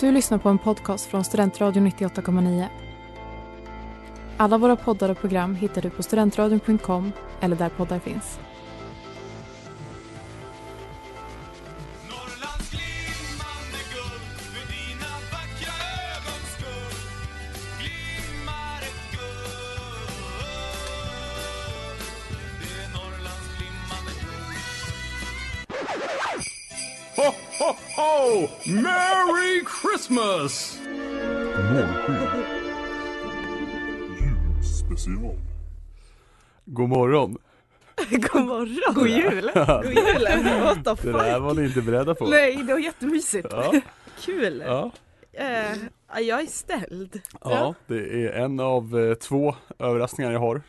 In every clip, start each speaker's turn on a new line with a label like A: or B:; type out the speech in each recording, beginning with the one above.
A: Du lyssnar på en podcast från Studentradion 98,9. Alla våra poddar och program hittar du på studentradion.com eller där poddar finns.
B: Norrlands glimmande guld för dina vackra ögons skull glimmar ett guld. Det är Norrlands glimmande guld.
C: Ho, ho, ho! Merry Christmas!
D: Special.
C: God morgon.
E: God morgon!
F: God jul!
E: God jul! What the
C: Det
E: fuck?
C: där var ni inte beredda på.
E: Nej, det var jättemysigt.
C: Ja,
E: Kul!
C: ja,
E: Eh, jag är ställd.
C: ja, det är en av eh, två överraskningar jag har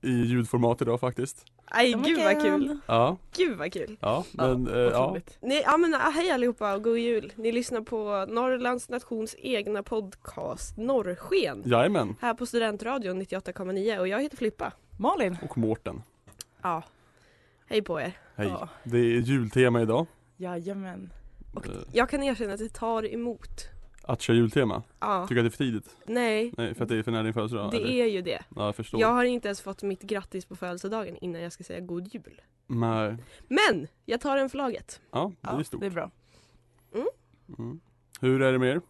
C: i ljudformat idag faktiskt.
E: Aj,
F: Oh my
E: gud vad
F: God.
E: kul.
C: Ja,
E: Gud vad kul.
C: ja, men eh, ja,
F: Otroligt.
E: Ni, ja men ah, hej allihopa och god jul. Ni lyssnar på Norrlands nations egna podcast Norrsken.
C: jajamän.
E: Här på Studentradion 98,9 och jag heter Flippa.
F: Malin!
C: Och Mårten.
E: Ja. Hej på er.
C: Hej.
F: Ja.
C: Det är jultema idag.
F: Jajamän.
E: Och-
C: Eh,
E: Jag kan erkänna att det tar emot.
C: Att köra jultema.
E: Ja.
C: Tycker jag att det är för tidigt?
E: Nej,
C: Nej, för att det är för nära din födelsedag?
E: det
C: eller?
E: är ju det.
C: Ja, jag förstår.
E: Jag har inte ens fått mitt grattis på födelsedagen innan jag ska säga god jul.
C: Nej.
E: Men! Jag tar den för laget.
C: Ja, det är
F: Ja,
C: stort.
F: det är bra.
C: Mm. Hur är det med er?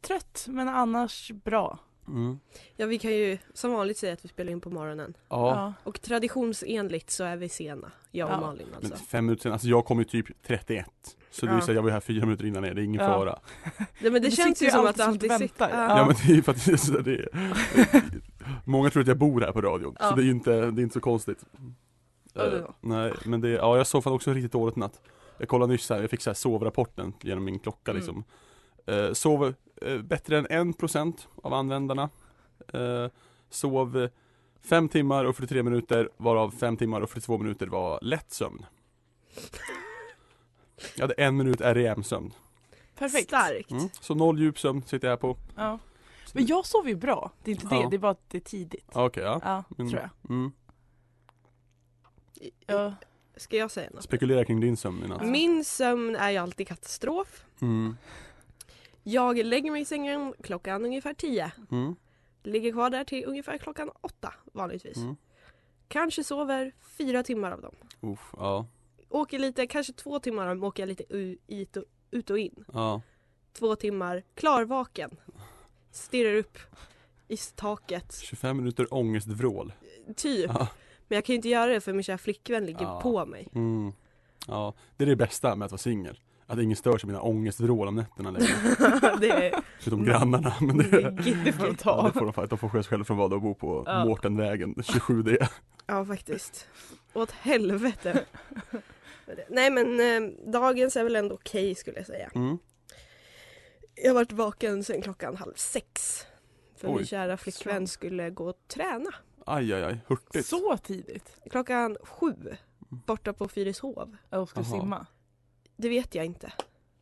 F: Trött men annars bra.
C: Mm.
E: Ja vi kan ju som vanligt säga att vi spelar in på morgonen.
C: Ja,
E: Och traditionsenligt så är vi sena, jag och
F: Ja.
E: Malin
C: men
E: alltså.
C: fem minuter sen. Alltså jag kom ju typ 31. Så det
E: Ja.
C: vill säga jag var ju här fyra minuter innan er, det är ingen
F: Ja.
C: fara.
E: Nej, men det,
F: Det
E: känns
F: sitter
E: ju
F: ju
E: som
F: alltid
E: att det
F: som
E: alltid
F: väntar.
E: sitter...
C: Ja.
E: Ja.
C: men det är för att det är så där det är. Många tror att jag bor här på radion,
F: Ja.
C: så det är ju inte, det är inte så konstigt.
F: Ja, det
C: Eh,
F: var.
C: nej, men det, ja jag sov fan också riktigt dåligt i natt. Jag kollade nyss här, jag fick så här sovrapporten genom min klocka
F: Mm.
C: liksom. Eh, sov eh, bättre än 1% av användarna. Eh, sov 5 timmar och 43 minuter, varav 5 timmar och 42 minuter var lätt sömn. Jag hade en minut REM-sömn.
F: Perfekt.
E: Starkt.
C: Mm. Så noll djup sömn sitter jag här på.
F: Ja. Men jag sover ju bra. Det är inte
C: Ja.
F: det, det är bara att det är tidigt.
C: Ja, Okej, ja.
F: Ja,
C: Mm.
F: tror jag.
C: Mm.
F: Ja.
E: Ska jag säga något?
C: Spekulera kring din sömn i natt.
F: Mm.
E: Min sömn är ju alltid katastrof.
C: Mm.
E: Jag lägger mig i sängen klockan ungefär 10.
C: Mm.
E: Ligger kvar där till ungefär klockan 8 vanligtvis.
C: Mm.
E: Kanske sover fyra timmar av dem.
C: Uff, ja.
E: Åker lite, kanske två timmar av dem åker jag lite u- it och, ut och in.
C: ja.
E: Två timmar klarvaken. Stirrar upp i taket.
C: 25 minuter ångestvrål.
E: Typ.
C: Ja.
E: Men jag kan ju inte göra det för min kära flickvän ligger
C: Ja.
E: på mig.
C: Mm. ja. Det är det bästa med att vara singel. Att ingen stör sig av mina ångestvrål om nätterna längre.
E: det är
C: Förutom grannarna. Men det,
F: Det får de ta
C: ja, det
F: av.
C: får de faktiskt. De får sköta sig själva från vad de bor på
F: Ja.
C: Mårtenvägen E. 27D.
E: Ja faktiskt. Åt helvete. Nej men eh, dagens är väl ändå okej skulle jag säga.
C: Mm.
E: Jag har varit vaken sen klockan halv sex. För
C: Oj.
E: min kära flickvän skulle gå och träna.
C: Aj, aj, aj. Hurtigt.
F: Så tidigt?
E: Klockan sju. Borta på Fyrishov.
F: Jag ska du
C: Jaha.
F: simma.
E: Det vet jag inte.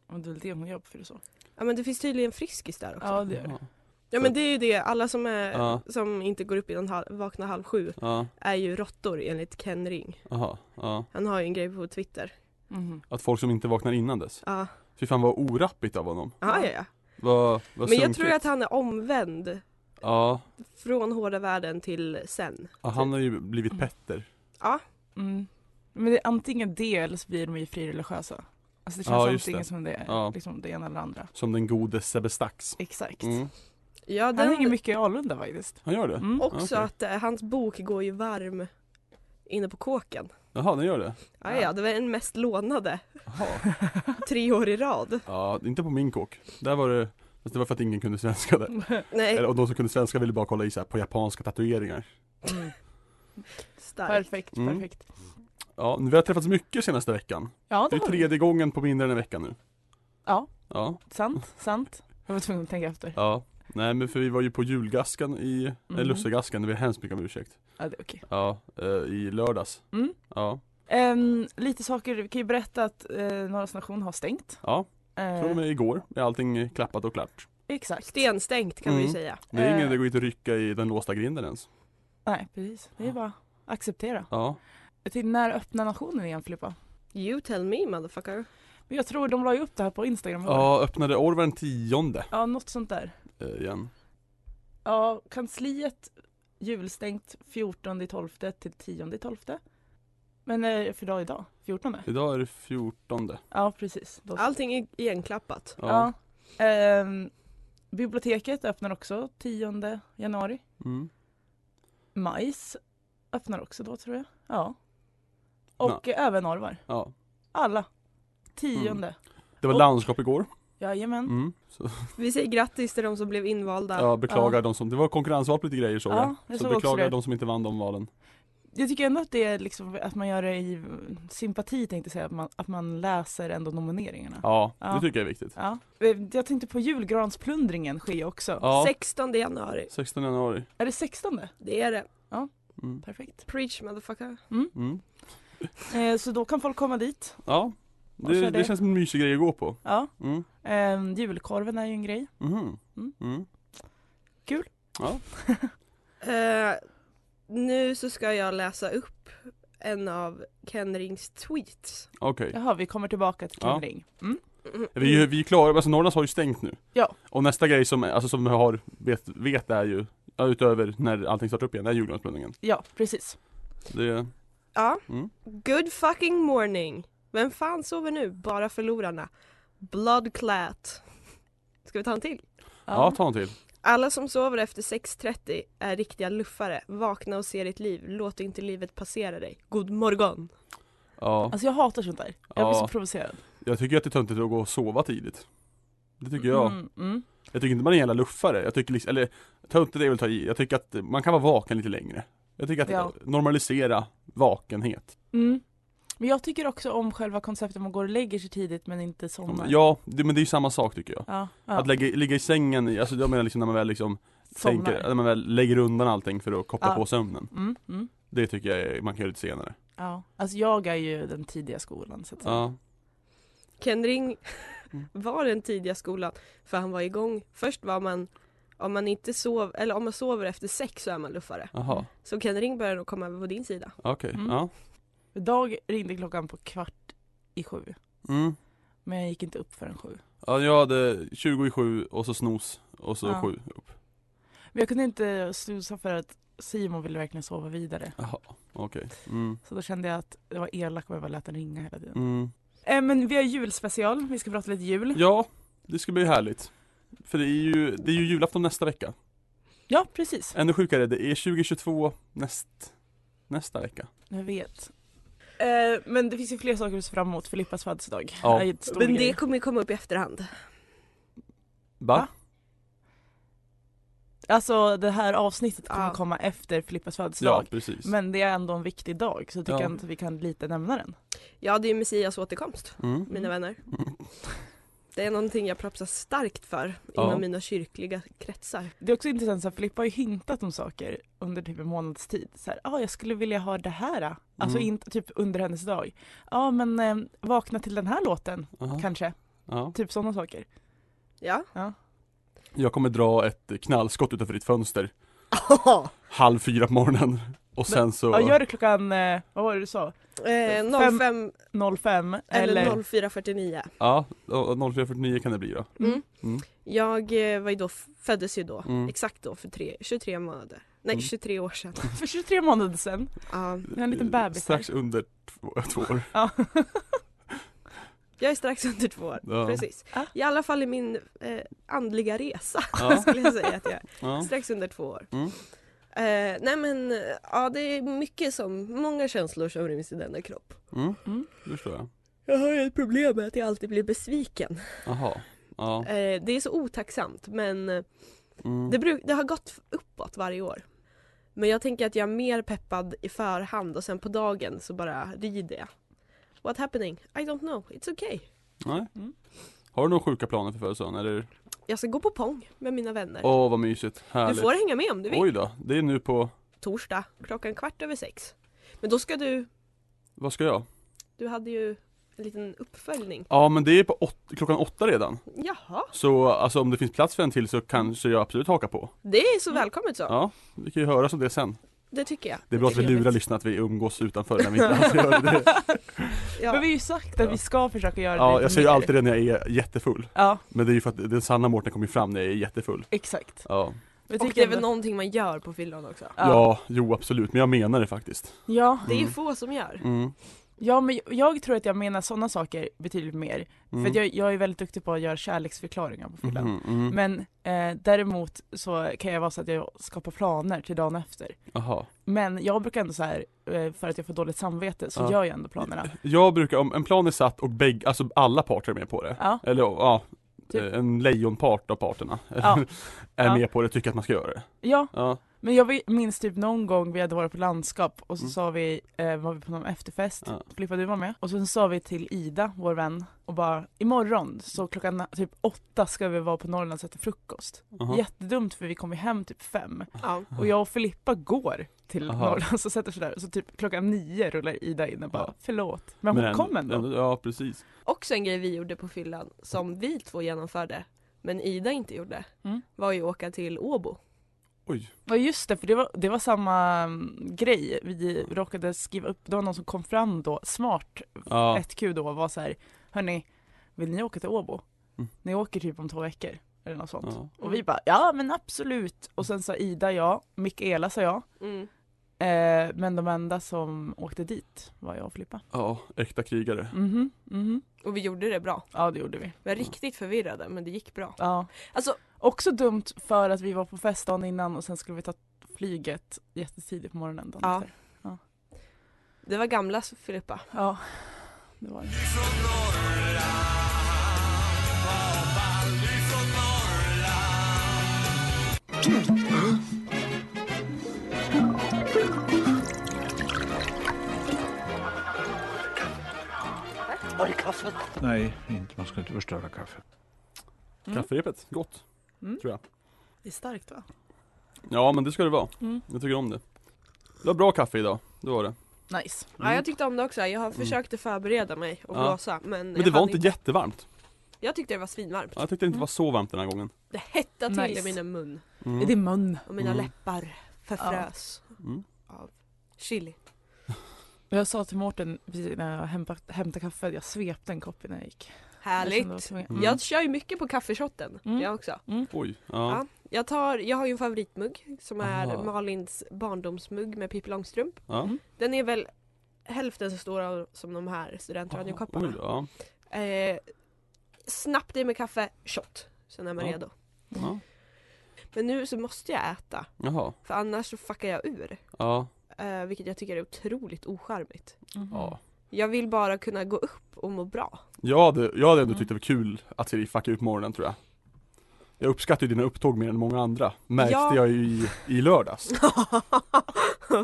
F: Om det är väl det hon gör på Fyrishov.
E: Ja men det finns tydligen Friskis där också. Ja,
F: Ja det gör det.
C: Ja.
E: men det är ju det. Alla som, är,
C: Ja.
E: som inte går upp innan halv, vaknar halv sju
C: Ja,
E: är ju råttor enligt Ken Ring.
C: aha, ja.
E: Han har ju en grej på Twitter.
F: Mhm.
C: Att folk som inte vaknar innan dess.
E: Ja,
C: Fy fan vad orappigt av honom.
E: ja, ja. ja.
C: Vad, vad
E: Men jag
C: sunkigt.
E: tror att han är omvänd
C: Ja,
E: från hårda världen till sen.
C: Ja, han har ju blivit Petter.
F: Mm. Men det är antingen det eller så blir de ju frireligiösa. Alltså det känns
C: Ja, just
F: antingen
C: det.
F: som det är
C: Ja.
F: liksom det ena eller det andra.
C: Som den gode Sebbe Stax.
F: Exakt.
C: Mm.
E: Ja,
F: Han hänger
E: den,
F: mycket i Alunda faktiskt.
C: Han gör det?
F: Mm.
E: också
C: okej.
E: att eh, hans bok går ju varm inne på kåken.
C: Jaha, den gör det?
E: Ja,
F: Ja.
E: ja, det var den mest lånade
C: Jaha.
E: tre år i rad.
C: Ja, inte på min kåk. Där var det, fast det var för att ingen kunde svenska där.
E: Nej,
C: Eller, och de som kunde svenska ville bara kolla i så här på japanska tatueringar.
F: Mm.
E: starkt.
F: Perfekt,
C: Mm.
F: perfekt.
C: Ja, vi har träffats mycket senaste veckan.
F: Ja,
C: Det är
F: det var det.
C: tredje gången på mindre än en vecka nu.
F: Ja,
C: Ja,
F: sant, sant. Jag var tvungen att tänka efter.
C: ja. Nej men för vi var ju på julgaskan i, eller
F: Mm.
C: lussegaskan, det ber jag hemskt mycket om ursäkt.
F: Ja, det är okej.
C: Ja, eh, i lördags.
F: Mm.
C: Ja,
F: Ehm, lite saker, vi kan ju berätta att eh, Norras nation har stängt.
C: ja.
F: Eh,
C: Från och med igår är allting klappat och klart.
F: Exakt.
E: Stenstängt kan vi
C: Mm.
E: säga.
C: Det är ingen
F: Eh.
C: det går inte att rycka i den låsta grinden ens.
F: Nej, precis. Det är bara att acceptera.
C: Ja.
F: Till när öppnar nationen igen Filippa?
E: You tell me motherfucker.
F: Men Jag tror de la ju upp det här på Instagram. va?
C: Ja, öppnade Orvar den tionde
F: ja, något sånt där.
C: eh, igen.
F: Ja, kansliet julstängt 14 i 12 till 10 i 12. Men eh, för dag idag, 14.
C: Idag är det fjortonde.
F: Ja, precis. Då-
E: Allting är igenklappat.
F: Ja. Ehm, biblioteket öppnar också 10 januari.
C: Mm.
F: Majs öppnar också då tror jag. Ja. Och även Orvar.
C: ja.
F: Alla. Tionde.
C: Det var
F: Och-
C: landskap igår.
F: Jajamän.
C: Mm. Så,
E: Vi säger grattis till de som blev invalda.
C: jag beklagar
F: Ja.
C: de som, det var konkurrensval på lite grejer såg
F: Ja,
C: jag.
F: jag
C: Så
F: såg också
C: beklagar
F: det.
C: de som inte vann de valen.
F: Jag tycker ändå att det är liksom att man gör det i sympati tänkte jag säga, att man, att man läser ändå nomineringarna.
C: Ja, det
F: Ja.
C: tycker jag är viktigt.
F: Ja. Eh, Jag tänkte på julgransplundringen sker ju också.
C: Ja,
E: 16 januari.
C: 16 januari.
F: Är det 16?
E: Det är det.
C: Mm.
F: Perfekt.
E: Preach motherfucker.
C: Mm.
F: Eh, så då kan folk komma dit.
C: Ja,
F: Och så
C: det,
F: är
C: det
F: det-
C: känns som en mysig grej att gå på.
F: Ja.
C: Mm.
F: Eh, julkorven är ju en grej.
C: Mhm.
F: Mm.
C: Mm.
E: Eh, nu så ska jag läsa upp en av Ken Rings tweets.
C: Okej.
F: Jaha, vi kommer tillbaka till
C: Ja.
F: Kevring. Mm.
E: Mm.
C: Vi, är- vi är klara, alltså Norrlands har ju stängt nu.
F: Ja.
C: Och nästa grej som, alltså, som vi har, vet, vet är ju, ja, utöver när allting startar upp igen, det är julgransplundringen.
F: Ja, precis.
C: Det,
E: Ja.
C: Mm.
E: Good fucking morning. Vem fan sover nu? Bara förlorarna. Bloodclat. Ska vi ta en till?
C: ja, ta en till.
E: Alla som sover efter 6.30 är riktiga luffare. Vakna och se ditt liv. Låt inte livet passera dig. God morgon.
C: Ja,
F: Alltså jag hatar sånt där. Jag blir
C: Ja.
F: så provocerad.
C: jag tycker att det är töntigt att gå och sova tidigt. Det tycker jag.
F: Mm, mm.
C: Jag tycker inte man är en jävla luffare. Jag tycker liksom, eller töntigt är väl att ta i. Jag tycker att man kan vara vaken lite längre. Jag tycker att
F: Ja.
C: normalisera vakenhet.
F: Mm. Men jag tycker också om själva konceptet man går och lägger sig tidigt men inte somnar.
C: Ja, det, men det är ju samma sak tycker jag.
F: ja, Oh ja.
C: Att lägga, ligga i sängen, i, alltså jag menar liksom när man väl liksom
F: Somnar.
C: tänker, när man väl lägger undan allting för att koppla
F: Ja.
C: på sömnen.
F: Mm, mm.
C: Det tycker jag är, man kan göra lite senare.
F: Ja. Alltså jag är ju den tidiga skolan så att säga.
C: Ja.
E: Kendring
C: Mm.
E: var den tidiga skolan för han var igång. Först var man, om man inte sov, eller om man sover efter sex så är man luffare.
C: Jaha,
E: Så Kendring börjar nog komma över på din sida.
C: okej.
F: Mm.
C: Ja.
F: Idag ringde klockan på kvart i sju.
C: Mm.
F: Men jag gick inte upp förrän sju.
C: ja, jag hade 20 i 7 och så snos och så
F: Ja.
C: 7 upp.
F: Men jag kunde inte snusa för att Simon ville verkligen sova vidare.
C: Jaha, okej. Mm.
F: Så då kände jag att det var elakt om jag bara lät den ringa hela tiden.
C: Mm.
F: Eh, men vi har julspecial, vi ska prata lite jul.
C: Ja, det ska bli härligt. För det är ju, det är ju julafton nästa vecka.
F: Ja, precis.
C: Ännu sjukare, det är 2022 näst, nästa vecka.
F: Jag vet. Eh, men det finns ju fler saker att se fram emot. Filippas födelsedag
C: Ja.
F: är ju ett stort
E: Men det
F: grej.
E: kommer ju komma upp i efterhand.
C: Va?
F: Va? Alltså det här avsnittet kommer
E: Ja.
F: komma efter Filippas
C: Ja,
F: födelsedag.
C: precis.
F: Men det är ändå en viktig dag så jag tycker
C: Ja.
F: jag att vi kan lite nämna den.
E: Ja, det är ju Messias återkomst,
C: Mm.
E: mina vänner. Det är någonting jag propsar starkt för
C: Ja.
E: inom mina kyrkliga kretsar.
F: Det är också intressant, så här, Filippa har ju hintat om saker under typ en månads tid. Så här, ah, jag skulle vilja ha det här. ah." Alltså
C: Mm.
F: inte typ under hennes dag. Ja ah, men eh, vakna till den här låten
C: Aha.
F: kanske.
C: Ja.
F: Typ sådana saker.
E: Ja.
C: Jag kommer dra ett knallskott utanför ditt fönster halv fyra på morgonen och sen så...
F: Ja gör det klockan, eh, vad var det du sa?
E: Eh, 05
F: 05 eller,
E: eller 04.49.
C: Ja, och 04.49 kan det bli då.
E: Mm.
C: Mm.
E: Jag eh, var ju då, föddes ju då,
C: Mm.
E: exakt då för tre, 23 månader. Nej,
C: Mm.
E: 23 år sedan.
F: för 23 månader sedan.
E: Ja.
F: Vi har en liten bebis
C: Strax under två, två år.
F: Ja.
E: Jag är strax under två år,
C: Ja.
E: precis.
F: Ah.
E: I alla fall i min eh, andliga resa
C: Ja.
E: skulle jag säga att jag är.
C: Ja.
E: Strax under två år.
C: Mm.
E: Eh, nej men, eh, ja det är mycket som, många känslor som ryms i denna kropp.
C: Mm.
F: Mm.
C: Det förstår jag.
E: Jag har ju ett problem med att jag alltid blir besviken.
C: Jaha. Ja.
E: Eh, det är så otacksamt men eh,
C: Mm.
E: det, bruk, det har gått uppåt varje år. Men jag tänker att jag är mer peppad i förhand och sen på dagen så bara rider jag. What happening? I don't know, it's okay.
C: Nej.
F: Mm.
C: Har du några sjuka planer för födelsedagen eller?
E: Jag ska gå på pong med mina vänner.
C: Åh vad mysigt,
E: du
C: härligt.
E: får hänga med om du vill.
C: Oj då, det är nu på,
E: torsdag klockan kvart över sex. Men då ska du,
C: vad ska jag?
E: du hade ju en liten uppföljning.
C: Ja men det är på åt, klockan åtta redan.
E: Jaha,
C: Så alltså om det finns plats för en till så kanske jag absolut hakar på.
E: Mm. det är så välkommet så.
C: Ja, vi kan ju höra om det sen.
E: det tycker jag.
C: Det är bra att vi lurar lyssnarna att vi umgås utanför när vi inte alltid gör det.
F: Men
E: Ja.
F: vi har ju sagt att
C: Ja.
F: vi ska försöka göra det
C: Ja,
F: lite
C: jag säger ju
F: mer.
C: alltid det när jag är jättefull.
F: Ja,
C: Men det är ju för att den sanna Mårten kommer ju fram när jag är jättefull.
F: exakt.
C: Ja.
F: Vi
E: Och
F: tycker
E: det är väl
F: ändå-
E: någonting man gör på fyllan också.
C: ja. jo absolut. Men jag menar det faktiskt.
F: Ja,
E: Det är ju
C: Mm.
E: få som gör.
C: Mm.
F: ja, men jag tror att jag menar sådana saker betydligt mer.
C: Mm.
F: För att jag, jag är väldigt duktig på att göra kärleksförklaringar på fyllan.
C: Mhm, mhm.
F: Men eh, däremot så kan jag vara så att jag skapar planer till dagen efter.
C: Aha.
F: Men jag brukar ändå så här, eh, för att jag får dåligt samvete så
C: Ja.
F: gör jag ändå planerna.
C: Jag brukar, om en plan är satt och bägge, alltså alla parter är med på det.
F: Ja,
C: Eller ja, eh,
F: Typ.
C: en lejonpart av parterna
F: Ja.
C: är
F: Ja.
C: med på det och tycker att man ska göra det.
F: ja
C: Ja.
F: men jag vet- minns typ någon gång vi hade varit på landskap och så
C: Mm.
F: sa vi, eh, var vi på någon efterfest,
C: Ja.
F: Filippa du var med, och sen sa vi till Ida, vår vän, och bara imorgon så klockan typ åtta ska vi vara på Norrlands och äta frukost.
C: Aha.
F: Jättedumt för vi kommer hem typ fem
E: Ja.
F: och jag och Filippa går till
C: Aha.
F: Norrlands och sätter sig där och så typ klockan nio rullar Ida in och bara
C: Ja.
F: förlåt. Men hon
C: ändå-
F: kom ändå.
C: Ja precis.
E: Också en grej vi gjorde på fyllan som vi två genomförde men Ida inte gjorde
F: Mm.
E: var ju att åka till Åbo.
C: Oj.
F: Ja just det, för det var, det var samma mm, grej. Vi råkade skriva upp, det var någon som kom fram då, smart
C: Ja.
F: 1Q då och var så här, hörni, vill ni åka till Åbo?
C: Mm.
F: Ni åker typ om två veckor eller något sånt.
C: ja.
F: Och vi bara, ja men absolut. Och sen sa Ida ja, Mikaela sa ja.
E: Mm.
F: Eh, men de enda som åkte dit var jag och Filippa.
C: Ja, äkta krigare.
F: Mhm, mhm.
E: Och vi gjorde det bra.
F: Ja det gjorde vi.
E: Vi var riktigt förvirrade men det gick bra.
F: Ja.
E: Alltså,
F: Också dumt för att vi var på festdagen innan och sen skulle vi ta flyget jättetidigt på morgonen dagen
E: Ja.
F: efter.
E: det var gamla Filippa.
F: Ja, det var det.
B: Ifrån Norrland, pappa, ifrån Norrland
D: Nej, inte. man ska inte förstöra kaffet.
F: Mm.
C: Kafferepet, gott.
F: Mm.
C: Tror jag.
F: Det är starkt va?
C: Ja men det ska det vara.
F: Mm.
C: Jag tycker om det. Det var bra kaffe idag, det var det.
F: Nice.
E: Ja, jag tyckte om det också. Jag har försökt att förbereda mig och
C: Mm. Ja.
E: blåsa men,
C: Men
E: jag
C: det var
E: hann
C: inte jättevarmt.
E: Jag tyckte det var svinvarmt.
C: Ja, Jag tyckte det inte
F: Mm.
C: var så varmt den här gången.
E: Det hettade till
F: Nice.
E: i mina mun
C: Mm.
F: I din mun.
E: och mina
C: Mm.
E: läppar förfrös
C: Mm.
E: av chili.
F: Jag sa till Mårten precis när jag hämtade, hämtade kaffe, jag svepte en kopp innan jag gick. Jag kände
E: Härligt!
F: att jag var tvungen.
C: Mm.
E: Jag kör ju mycket på kaffeshotten,
F: Mm.
E: jag också.
C: Oj, ja.
E: Ja. Jag, tar, jag har ju en favoritmugg som är
C: Aha.
E: Malins barndomsmugg med Pippi Långstrump.
C: ja.
F: Mm.
E: Den är väl hälften så stor av- som de här
C: Oj,
E: studentradiokopparna.
F: Mm.
C: ja.
E: Eh, snabbt i med kaffe, shot. Sen är man
C: Ja.
E: redo.
C: ja.
E: Men nu så måste jag äta,
C: Jaha.
E: för annars så fuckar jag ur.
C: Ja.
E: Eh, vilket jag tycker är otroligt ocharmigt.
F: Mhm.
C: ja.
E: Jag vill bara kunna gå upp och må bra.
C: Jag hade, jag hade ändå
F: Mm.
C: tyckt det var kul att se dig fucka ut morgonen tror jag. Jag uppskattar ju dina upptåg mer än många andra. Märkte
E: Ja.
C: jag ju i, i lördags.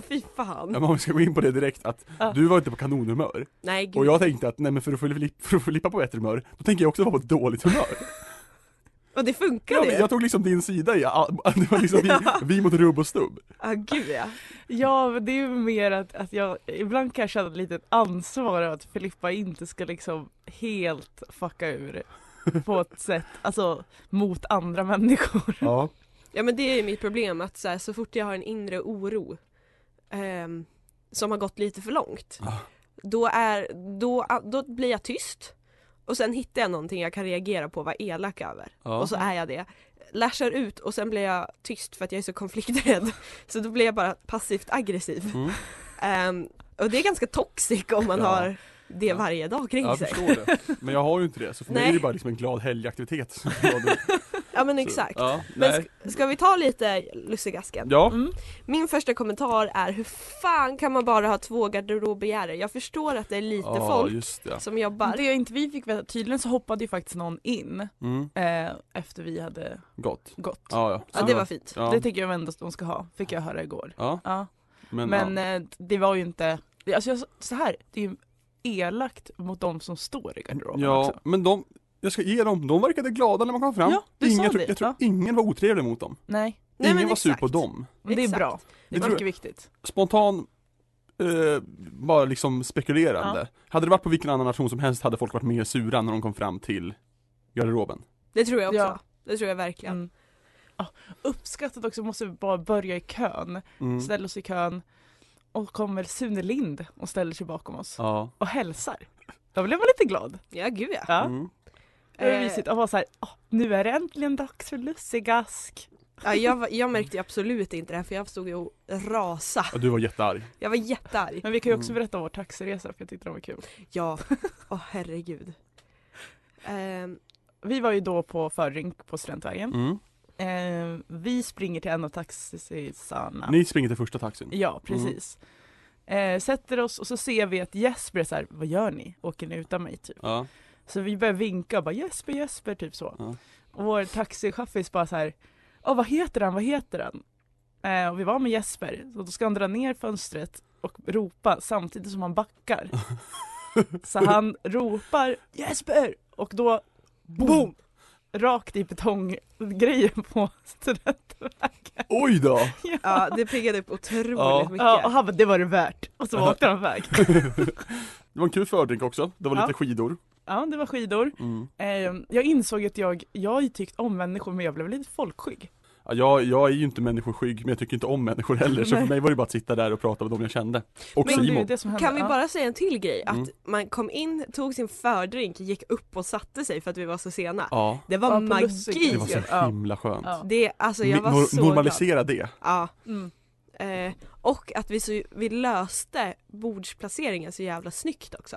E: Fy fan.
C: Ja, men om vi ska gå in på det direkt att
F: Ja.
C: du var inte på kanonhumör.
E: Nej gud.
C: Och jag tänkte att nej men för att få li- för att få Filippa på bättre humör, då tänker jag också vara på dåligt humör.
E: Och det funkar
C: Ja,
E: ju.
C: men jag tog liksom din sida i, all- det var liksom vi, vi mot rubb och stubb.
E: ah, gud ja.
F: Ja, men det är ju mer att, att jag ibland kan jag känna lite ett ansvar över att Filippa inte ska liksom helt fucka ur på ett sätt, alltså mot andra människor.
C: Ja.
E: Ja men det är ju mitt problem att så, här, så fort jag har en inre oro ehm, som har gått lite för långt
C: Ah.
E: då, är, då, då blir jag tyst och sen hittar jag någonting jag kan reagera på och vara elak över
C: Ja.
E: och så är jag det. Lashar ut och sen blir jag tyst för att jag är så konflikträdd så då blir jag bara passivt aggressiv.
C: Mm.
E: Ehm, och det är ganska toxic om man
C: Ja.
E: har det varje dag kring
C: Jag
E: sig.
C: förstår det. Men jag har ju inte det, så för mig
E: Nej.
C: är det bara liksom en glad helgaktivitet. Så- så-
E: Ja men exakt.
C: Ja,
E: Men
C: nej.
E: sk- ska vi ta lite lussegasken?
C: Ja.
F: Mm.
E: Min första kommentar är hur fan kan man bara ha två garderobegärare? Jag förstår att det är lite
C: Ja,
E: folk
C: just det.
E: som jobbar.
F: Det inte vi fick veta, tydligen så hoppade ju faktiskt någon in
C: Mm.
F: eh, efter vi hade
C: Gott.
F: gått.
C: Ja, ja.
E: ja, det var fint.
C: Ja.
F: Det tycker jag ändå att de ska ha, fick jag höra igår.
C: Ja,
F: Ja.
C: men,
F: Men
C: ja.
F: eh, det var ju inte, alltså jag, så här, det är ju elakt mot de som står i garderoben
C: ja,
F: också.
C: men de, jag ska ge dem, de verkade glada när man kom fram.
F: Ja, du sa
C: jag, tror-
F: det,
C: jag tror
F: ja.
C: ingen var otrevlig mot dem.
F: Nej,
E: Nej,
C: ingen
E: men
C: var sur
E: exakt.
C: på dem.
F: men det är
E: Exakt.
F: bra.
C: Det
F: Det är
C: tror
F: mycket viktigt.
C: Spontan, eh, bara liksom spekulerande. Hade det varit på vilken annan nation som helst hade folk varit mer sura när de kom fram till garderoben.
E: Det tror jag också.
F: Ja.
E: Det tror jag verkligen.
F: Mm. Uppskattat också, måste vi bara börja i kön.
C: Mm.
F: Ställer oss i kön och kommer Sune Lind och ställer sig bakom oss
C: Ja.
F: och hälsar. Då blev man lite glad.
E: Ja gud ja.
F: Ja.
C: Mm.
F: Det var
E: Eh,
F: mysigt att vara såhär, "Åh, nu är det äntligen dags för lussegask.
E: Eh, ja jag, var- jag märkte ju absolut inte det här för jag stod ju och rasa.
C: ja. Du var jättearg.
E: Jag var jättearg.
F: Men vi kan ju också
C: Mm.
F: berätta om vår taxiresa för jag tyckte den var kul.
E: Ja, åh herregud. Ehm,
F: Vi var ju då på förrink på Studentvägen.
C: Mm.
F: Eh, vi springer till en av taxisarna.
C: Ni springer till första taxin.
F: Ja, precis. Eh, sätter oss och så ser vi att Jesper är så här, vad gör ni? Åker ni utan mig typ?
C: Ja.
F: Så vi börjar vinka och bara Jesper, Jesper, typ så.
C: Ja.
F: Och vår taxichaffis bara så här, "Åh, vad heter han, vad heter han? Eh, och vi var med Jesper, så då ska han dra ner fönstret och ropa samtidigt som han backar. så han ropar Jesper! Och då, boom! Rakt i betonggrejen på studentvägen.
C: Oj då!
E: ja, det piggade upp otroligt
C: Ja.
E: mycket.
F: Ja, och han bara, det var det värt. Och så åkte han iväg.
C: Det var en kul fördrink också. Det var
F: Ja.
C: lite skidor.
F: Ja, det var skidor.
C: Mm.
F: Eh, jag insåg att jag, jag har ju tyckt om människor men jag blev lite folkskygg.
C: Ja, jag, jag är ju inte människoskygg men jag tycker inte om människor heller så
F: Nej.
C: för mig var det bara att sitta där och prata med dem jag kände. Och
F: Men det är ju
C: Simon.
F: det som händer.
E: Kan vi
F: Ja.
E: bara säga en till grej? Att
C: Mm.
E: man kom in, tog sin fördrink, gick upp och satte sig för att vi var så sena.
C: Ja,
E: Det var
F: Ja, på
E: magi!
F: Lussiga.
C: det
E: Det,
C: var
F: Ja.
C: så himla skönt.
F: Ja.
E: alltså jag var
C: Nor-
E: så glad.
C: normalisera det.
E: Ja.
F: Mm.
E: Eh, och att vi, så, vi löste bordsplaceringen så jävla snyggt också.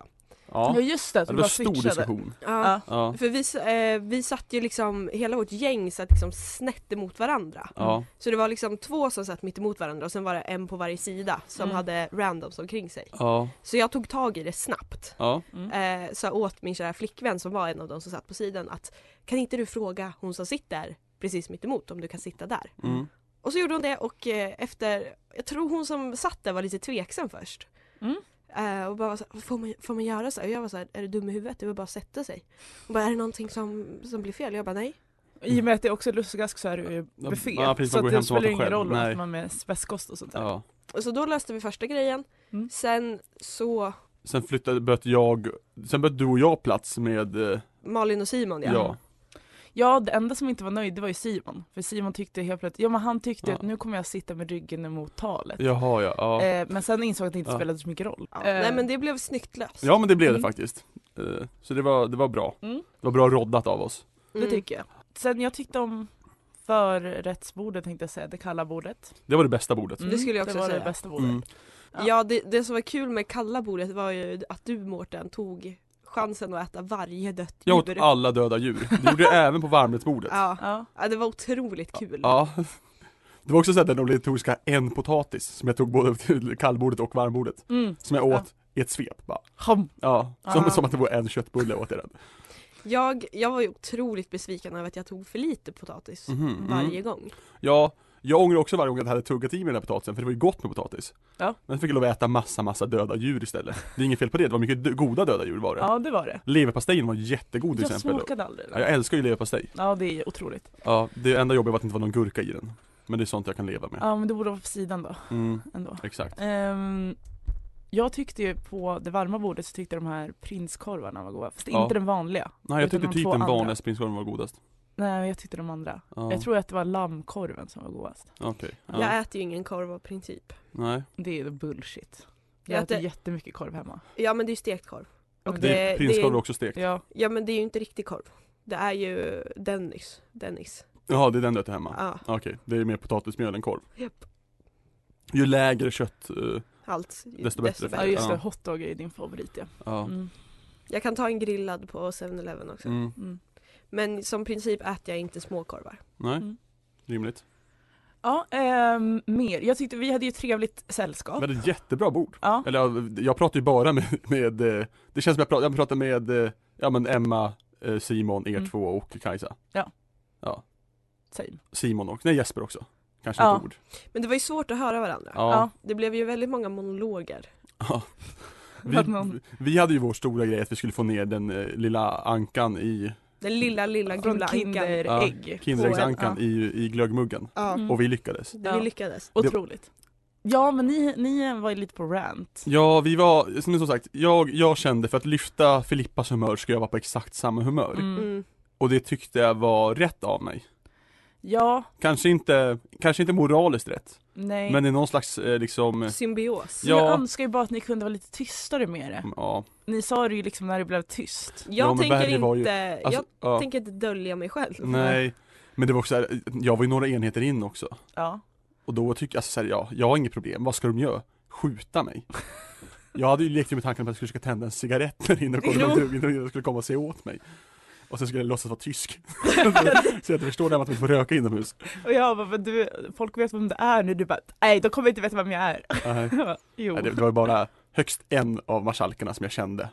F: Ja.
C: Ja.
F: just det, att
C: Det
F: vi
C: var
F: bara
C: en stor
F: switchade.
C: diskussion.
E: Ja.
F: Ja.
C: Ja.
E: För vi, s- eh, vi satt ju liksom, hela vårt gäng satt liksom snett emot varandra.
C: Ja.
E: Så det var liksom två som satt mitt emot varandra och sen var det en på varje sida som
F: Mm.
E: hade randoms omkring sig.
C: Ja.
E: Så jag tog tag i det snabbt.
C: Ja.
F: Mm.
E: Eh, sa åt min kära flickvän som var en av de som satt på sidan att kan inte du fråga hon som sitter precis mitt emot om du kan sitta där?
C: Mm.
E: Och så gjorde hon det och eh, efter, jag tror hon som satt där var lite tveksam först.
F: Mm.
E: Eh, och bara var så här, får man, får man göra så här? Och jag var så här, är du dum i huvudet? Det var bara att sätta sig. Hon bara, är det någonting som, som blir fel? Jag bara, nej.
F: I och med att det också är lussegask så är det ju buffé.
C: Ja, precis,
F: så
C: man går hem
F: att det
C: och
F: spelar
C: matar
F: ingen
C: själv.
F: roll
C: Nej.
F: att man med spetskost och sånt där.
C: Ja.
E: Och så då löste vi första grejen.
F: Mm.
E: Sen så,
C: Sen flyttade, böt jag, sen böt du och jag plats med, eh,
E: Malin och Simon ja.
C: ja.
F: Ja, det enda som inte var nöjd det var ju Simon. För Simon tyckte helt plötsligt, ja men han tyckte
C: Ja.
F: att nu kommer jag sitta med ryggen emot talet.
C: Jaha ja, ja.
F: Eh, men sen insåg jag att det inte
C: Ja.
F: spelade så mycket roll.
E: Ja,
F: Eh,
E: Nej men det blev snyggt löst.
C: Ja men det blev det
F: Mm.
C: faktiskt. Eh, Så det var, det var bra.
F: Mm.
C: Det var bra roddat av oss.
F: Det tycker jag. mm. Sen jag tyckte om förrättsbordet tänkte jag säga, det kalla bordet.
C: Det var det bästa bordet.
E: Det skulle jag också
F: det var
E: säga.
F: det bästa bordet.
C: Mm.
E: Ja, det, det som var kul med kalla bordet var ju att du Mårten tog chansen att äta varje dött
C: Jag åt
E: djur.
C: alla döda djur. Det gjorde jag även på varmrättsbordet.
E: Ja.
F: Ja.
E: ja, det var otroligt kul.
C: Ja. Det var också så här den obligatoriska en potatis som jag tog både till kallbordet och varmbordet.
F: Mm.
C: Som jag åt i ett svep bara.
F: Hom.
C: Ja, som,
F: Ah.
C: som att det vore en köttbulle åt den.
E: Jag, jag var ju otroligt besviken över att jag tog för lite potatis
C: Mhm,
E: varje
C: mm.
E: gång.
C: Ja, jag ångrar också varje gång att jag hade tuggat i mig den här potatisen för det var ju gott med potatis.
F: Ja.
C: Men så fick jag lov att äta massa, massa döda djur istället. Det är inget fel på det, det var mycket dö- goda döda djur var det.
F: Ja det var det.
C: Leverpastejen var jättegod till
F: Jag
C: exempel.
F: smakade aldrig
C: Ja,
F: den.
C: jag älskar ju leverpastej.
F: Ja det är otroligt.
C: Ja, det enda jobbet var att det inte var någon gurka i den. Men det är sånt jag kan leva med.
F: Ja men det borde vara på sidan då
C: Mm,
F: ändå.
C: exakt.
F: Ehm, jag tyckte ju på det varma bordet så tyckte jag de här prinskorvarna var goda. Fast
C: Ja.
F: inte den vanliga.
C: Nej jag
F: Utan
C: tyckte
F: de
C: typ
F: två
C: den
F: andra.
C: vanliga prinskorven var godast.
F: Nej jag tyckte de andra.
C: Ja,
F: Jag tror att det var lammkorven som var godast.
C: Okej. Ja.
E: Jag äter ju ingen korv av princip.
C: Nej.
F: Det är bullshit.
E: Jag
F: Jag äter
E: äter-
F: jättemycket korv hemma.
E: Ja men det är ju stekt korv.
F: Och
C: Det, är
E: det-
C: prinskorv
E: det-
C: också stekt.
F: Ja.
E: Ja men det är ju inte riktig korv. Det är ju Dennis. Dennis.
C: Jaha, det är den du äter hemma?
E: Ja,
C: Okej, det är mer potatismjöl än korv.
E: Japp.
C: Ju lägre kött, eh,
E: allt.
C: Desto bättre för
F: ja
C: dig.
F: just det,
C: Ja.
F: hotdog är ju din favorit ja.
C: ja.
F: Mm.
E: Jag kan ta en grillad på 7-Eleven också.
C: Mm.
F: Mm.
E: Men som princip äter jag inte småkorvar.
C: Nej,
F: Mm.
C: rimligt.
F: Ja, ehm, mer. Jag tyckte vi hade ju ett trevligt sällskap.
C: Men ett jättebra bord.
F: Ja.
C: Eller ja, jag pratar ju bara med, med eh, det känns som jag pratar, jag pratar med, eh, ja men Emma, eh, Simon, er
F: Mm.
C: två och Kajsa.
F: Ja.
C: Ja.
F: Same.
C: Simon och, nej Jesper också. Kanske
F: Ja.
C: ett ord.
E: Men det var ju svårt att höra varandra.
C: Ja.
E: Det blev ju väldigt många monologer.
F: För att någon-
C: Vi, vi hade ju vår stora grej att vi skulle få ner den eh, lilla ankan i,
E: Den lilla, lilla gula
F: Från
E: Mm. ankan.
F: Kinderägg.
C: Kinderäggsankan
F: På
C: i, i glöggmuggen.
E: Ja,
F: Mm.
C: Och vi lyckades.
E: det
F: Ja.
E: vi lyckades.
F: Otroligt. Ja men ni, ni var ju lite på rant.
C: Ja, vi var, som som sagt, jag, jag kände för att lyfta Filippas humör ska jag vara på exakt samma humör.
F: Mm.
E: Mm.
C: Och det tyckte jag var rätt av mig.
F: Ja,
C: Kanske inte, kanske inte moraliskt rätt,
F: nej.
C: men i någon slags eh, liksom, eh,
E: Symbios.
F: Jag
C: ja.
F: önskar ju bara att ni kunde vara lite tystare med det.
C: ja,
F: Ni sa det ju liksom när det blev tyst.
E: Jag,
C: Ja, men
E: tänker,
C: Berg
E: inte,
C: var ju- alltså,
E: jag
C: ja.
E: tänker inte dölja mig själv.
C: Nej, men det var också så här, jag var ju några enheter in också
F: Ja.
C: Och då tycker jag, alltså, så här, ja, jag har inget problem, vad ska de göra? Skjuta mig? Jag hade ju lekt med tanken på att jag skulle försöka tända en cigarett där inne och kolla om de drog- innan de skulle komma och se åt mig Och sen skulle jag låtsas vara tysk Så jag inte förstår det här med att man inte får röka inomhus
F: Och jag bara, men du, folk vet vem det är nu. Du bara, nej de kommer inte veta vem jag är.
C: Nej.
F: Jag bara, jo,
C: Nej, Det det var ju bara högst en av marskalkerna som jag kände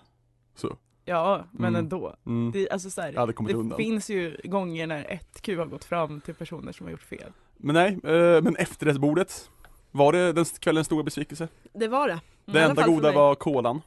C: Så,
F: ja men
C: Mm.
F: ändå.
C: mm,
F: Det, alltså, så här,
C: jag hade kommit
F: det
C: undan
F: finns ju gånger när ett Q har gått fram till personer som har gjort fel.
C: Men nej, eh, men efterrättsbordet Var det den kvällens stora besvikelse?
E: Det var det.
C: Det
E: I alla
C: enda
E: fall för
C: goda
E: mig.
C: var kolan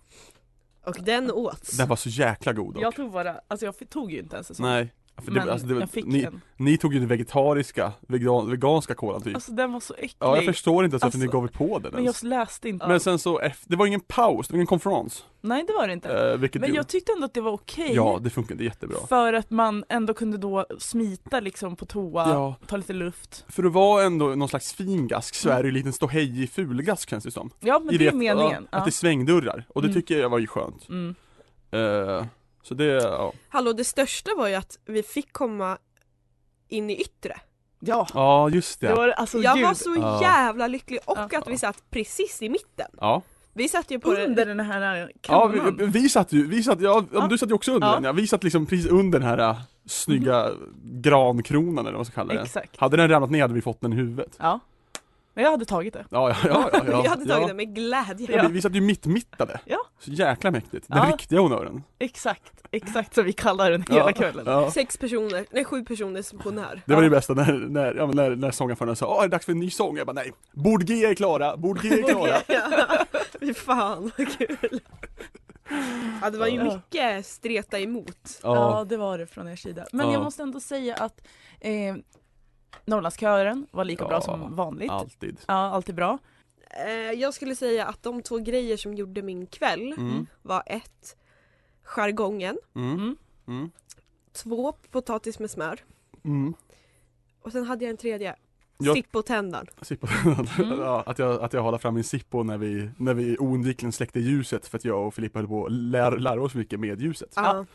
E: Och den åts.
C: Den var så jäkla god dock.
F: Jag tog bara, alltså jag tog ju inte ens en sån.
C: Nej, för det,
F: men
C: alltså, det,
F: jag fick
C: ni,
F: en.
C: ni tog ju den vegetariska, vegan, veganska kolan typ
F: Alltså den var så äcklig.
C: Ja jag förstår inte ens varför
F: Alltså,
C: ni gav er på den
F: men
C: ens.
F: jag läste inte.
C: Men sen så, eff- det var ingen paus, det var ingen konferens
F: Nej det var det inte.
C: eh, Vilket
F: men
C: ju,
F: jag tyckte ändå att det var okej.
C: Ja det funkade jättebra
F: För att man ändå kunde då smita liksom på toa,
C: Ja,
F: ta lite luft.
C: för att vara ändå någon slags fingask så är det ju en liten ståhejig fulgask känns det som
F: Ja men
C: I
F: det är
C: att-
F: meningen.
C: ja,
F: Ja.
C: Att det är svängdörrar, och det
F: Mm.
C: tycker jag var ju skönt
F: Mm.
C: Eh, Så det, ja
E: Hallå det största var ju att vi fick komma in i yttre.
F: ja.
C: Ja just det,
F: Det var alltså
E: jag
F: ljud.
E: var så
C: Ja.
E: jävla lycklig och
F: Ja.
E: att vi satt precis i mitten.
C: ja,
E: Vi satt ju på
F: under den här
C: ja
F: kannan.
C: vi, vi satt ju, vi satt, ja,
F: Ja.
C: du satt ju också under
F: Ja.
C: den ja, vi satt liksom precis under den här äh, snygga grankronan eller vad man ska kalla det
F: Exakt.
C: Hade den ramlat ner hade vi fått den i huvudet
F: Ja. Men jag hade tagit det.
C: Ja, ja, ja, ja, ja
E: jag hade tagit
C: ja.
E: den med glädje.
C: Ja. Vi, vi satt ju mittmittade.
F: Ja.
C: Så jäkla mäktigt. Den
F: Ja.
C: riktiga honnören.
F: Exakt, exakt som vi kallar den hela
C: Ja.
F: kvällen.
C: Ja.
E: Sex personer, nej sju personer som på när.
C: Det var det bästa när, när, ja, men när, när sångarföraren sa "Åh, är det dags för en ny sång? Jag bara nej, Bord G är klara, Bord G är klara.
E: Ja. Fy fan vad kul. Ja det var ju
F: Ja.
E: mycket streta emot.
F: Ja.
C: Ja.
F: det var det från er sida. Men
C: Ja.
F: jag måste ändå säga att eh, Norrlandskören var lika
C: Ja.
F: bra som vanligt. Ja.
C: Alltid.
F: alltid bra.
E: Eh, jag skulle säga att de två grejer som gjorde min kväll
C: Mm.
E: var ett, jargongen,
C: Mm.
F: Mm.
C: Mm.
E: två, potatis med smör
C: Mm.
E: och sen hade jag en tredje,
C: Jag-
E: sippotändaren.
C: Sippo. ja, att, jag, att jag halade fram min Sippo när vi, när vi oundvikligen släckte ljuset för att jag och Filippa höll på att lära, lära oss mycket med ljuset.
E: Ja.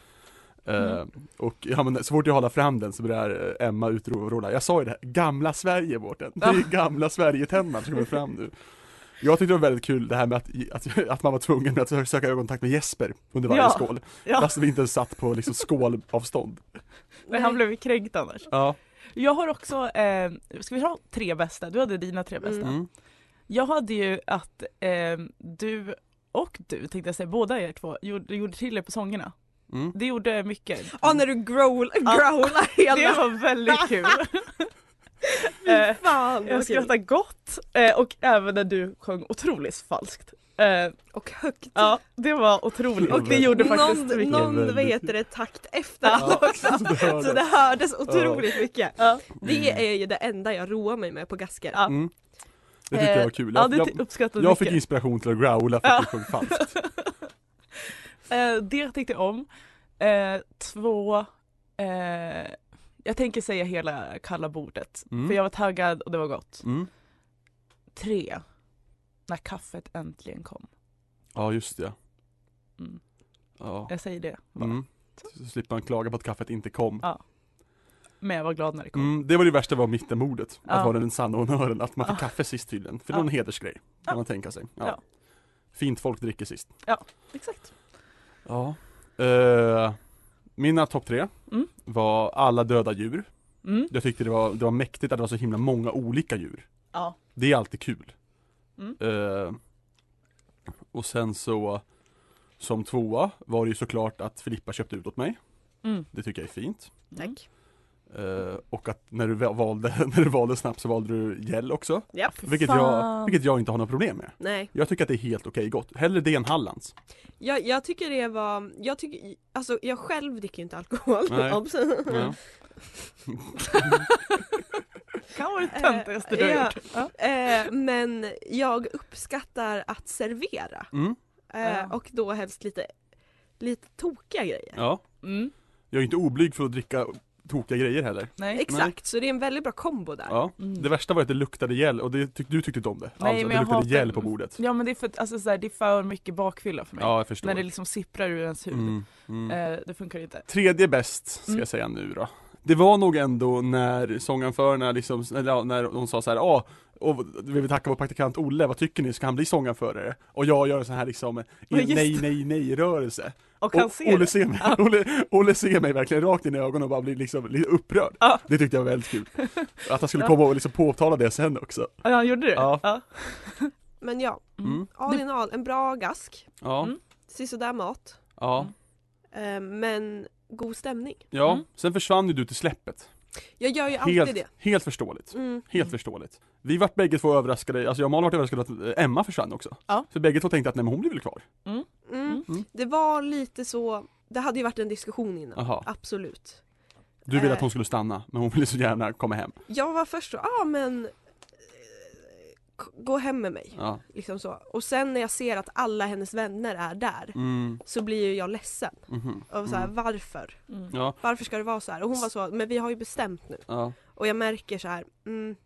C: Eh, och ja, men, så fort jag håller fram den så börjar eh, Emma utropa Jag sa ju det, här, gamla Sverige Mårten, det är ju gamla Sverige-tändan som kommer fram nu Jag tyckte det var väldigt kul det här med att, att, att man var tvungen att sö- söka ögonkontakt med Jesper under varje
F: Ja.
C: skål
F: Ja.
C: Fast vi inte ens satt på liksom skålavstånd
F: Men han blev ju kränkt annars.
C: Ja,
F: Jag har också, eh, ska vi ta tre bästa? Du hade dina tre bästa.
E: Mm.
F: Jag hade ju att eh, du och du tänkte jag säga, båda er två, gjorde, gjorde till er på sångerna.
C: Mm.
F: Det gjorde mycket.
E: Ja Ah, när du growl,
F: Ja.
E: growlar
F: Det
E: hela.
F: var väldigt kul. eh,
E: Fy fan vad
F: jag
E: kul.
F: skrattade gott eh, och även när du sjöng otroligt falskt. Eh,
E: Och högt.
F: ja, det var otroligt och det gjorde faktiskt
E: någon,
F: mycket.
E: någon vad
C: Väldigt.
E: heter det, takt efter alla
C: så
E: också.
C: det hördes.
E: Så det hördes otroligt mycket.
F: Ja,
E: Det är ju det enda jag roar mig med på gasker.
F: Ja.
C: mm. Det tyckte jag var kul,
F: eh, ja,
C: jag,
F: det
C: jag,
F: uppskattade
C: jag fick
F: mycket.
C: inspiration till att growla för att det sjöng falskt
F: Eh, det tyckte jag om. Eh, två, eh, jag tänker säga hela kalla bordet.
C: Mm.
F: För jag var taggad och det var gott.
C: mm.
F: Tre, när kaffet äntligen kom.
C: Ja just det
F: Mm.
C: ja.
F: Jag säger det bara.
C: Mm. Så slipper man klaga på att kaffet inte kom
F: Men jag var glad när det kom.
C: Mm, det var det värsta var mittenmordet, att
F: Ja.
C: vara den sanna honnören, att man fick
F: Ja.
C: kaffe sist tydligen. För det
F: Ja.
C: var en hedersgrej, kan
F: Ja.
C: man tänka sig. Ja.
F: Ah. Ja.
C: Fint folk dricker sist.
F: Exakt.
C: Ja. Eh, mina topp tre
F: Mm.
C: var alla döda djur.
F: Mm.
C: Jag tyckte det var, det var mäktigt att det var så himla många olika djur.
F: Ja.
C: Det är alltid kul.
F: Mm.
C: Eh, och sen så, som tvåa var det ju såklart att Filippa köpte ut åt mig.
F: Mm.
C: Det tycker jag är fint.
F: Mm.
E: Tack.
C: Eh, och att när du väl valde, när du valde snabbt så valde du gäll också.
E: Ja.
F: Fy
C: Vilket
F: fan.
C: jag, vilket jag inte har några problem med.
E: Nej,
C: Jag tycker att det är helt okej gott. Hellre det än Hallands.
E: jag, jag tycker det var, jag tycker, alltså jag själv dricker ju inte alkohol.
C: Nej.
E: Obs.
F: Mm. kan vara det töntigaste du har
E: Ja.
F: gjort. Ja.
E: Eh, men jag uppskattar att servera
C: Mm.
E: eh,
F: Ja.
E: och då helst lite, lite tokiga grejer.
C: Ja.
F: Mm.
C: Jag är inte oblyg för att dricka tokiga grejer heller.
F: Nej.
E: Exakt, så det är en väldigt bra kombo där.
C: Ja.
F: Mm.
C: Det värsta var att det luktade gel och det tyck, du tyckte inte om det.
F: Nej,
C: alltså,
F: men
C: det
F: jag
C: luktade
F: hatar-
C: gel på bordet.
F: Ja men det är för, alltså, så här, det är för mycket bakfylla för mig.
C: Ja, jag förstår.
F: När det liksom sipprar ur ens huvud.
C: Mm, mm.
F: Eh, det funkar inte.
C: Tredje bäst ska
F: Mm.
C: jag säga nu då. Det var nog ändå när sånganförarna liksom, eller ja, när de sa så här, ja, och vi vill tacka vår praktikant Olle, vad tycker ni, ska han bli sånganförare? Och jag gör en sån här liksom,
F: Ja, just
C: nej,
F: det.
C: nej, nej rörelse.
F: Och han
C: Och
F: ser
C: Olle
F: det.
C: ser, mig,
F: Ja.
C: Olle, Olle ser mig verkligen rakt in i ögonen och bara blir liksom lite upprörd.
F: Ja.
C: Det tyckte jag var väldigt kul. Att han skulle
F: Ja. Mm.
C: komma och liksom påtala det sen också.
F: Ja, han gjorde det?
C: Ja.
E: Men ja,
C: Mm.
E: all in all, en bra gask,
C: Ja,
F: Mm.
E: sisådär mat,
C: ja,
F: Mm.
E: eh, men god stämning.
C: ja.
F: Mm.
C: Sen försvann ju du till släppet.
E: Jag gör ju alltid
C: Helt,
E: det.
C: helt förståeligt.
E: Mm.
C: Helt
F: Mm.
C: förståeligt. Vi vart bägge två överraskade, alltså jag och Malin vart överraskade att eh, Emma försvann också.
F: Ja.
C: Så bägge två tänkte att nej men hon blir väl kvar?
E: Mm.
C: Mm.
E: Det var lite så, det hade ju varit en diskussion innan,
C: Aha.
E: absolut.
C: Du ville
E: Eh.
C: att hon skulle stanna, men hon ville så gärna komma hem.
E: Jag var först så, ah men eh, k- gå hem med mig.
C: Ja.
E: Liksom så. Och sen när jag ser att alla hennes vänner är där
C: Mm.
E: så blir ju jag ledsen.
C: Mhm.
E: Och så här,
C: Mm.
E: Varför?
F: Mm.
C: Ja,
E: Varför ska det vara så här? Och hon var så, men vi har ju bestämt nu.
C: ja.
E: Och jag märker så här, mm,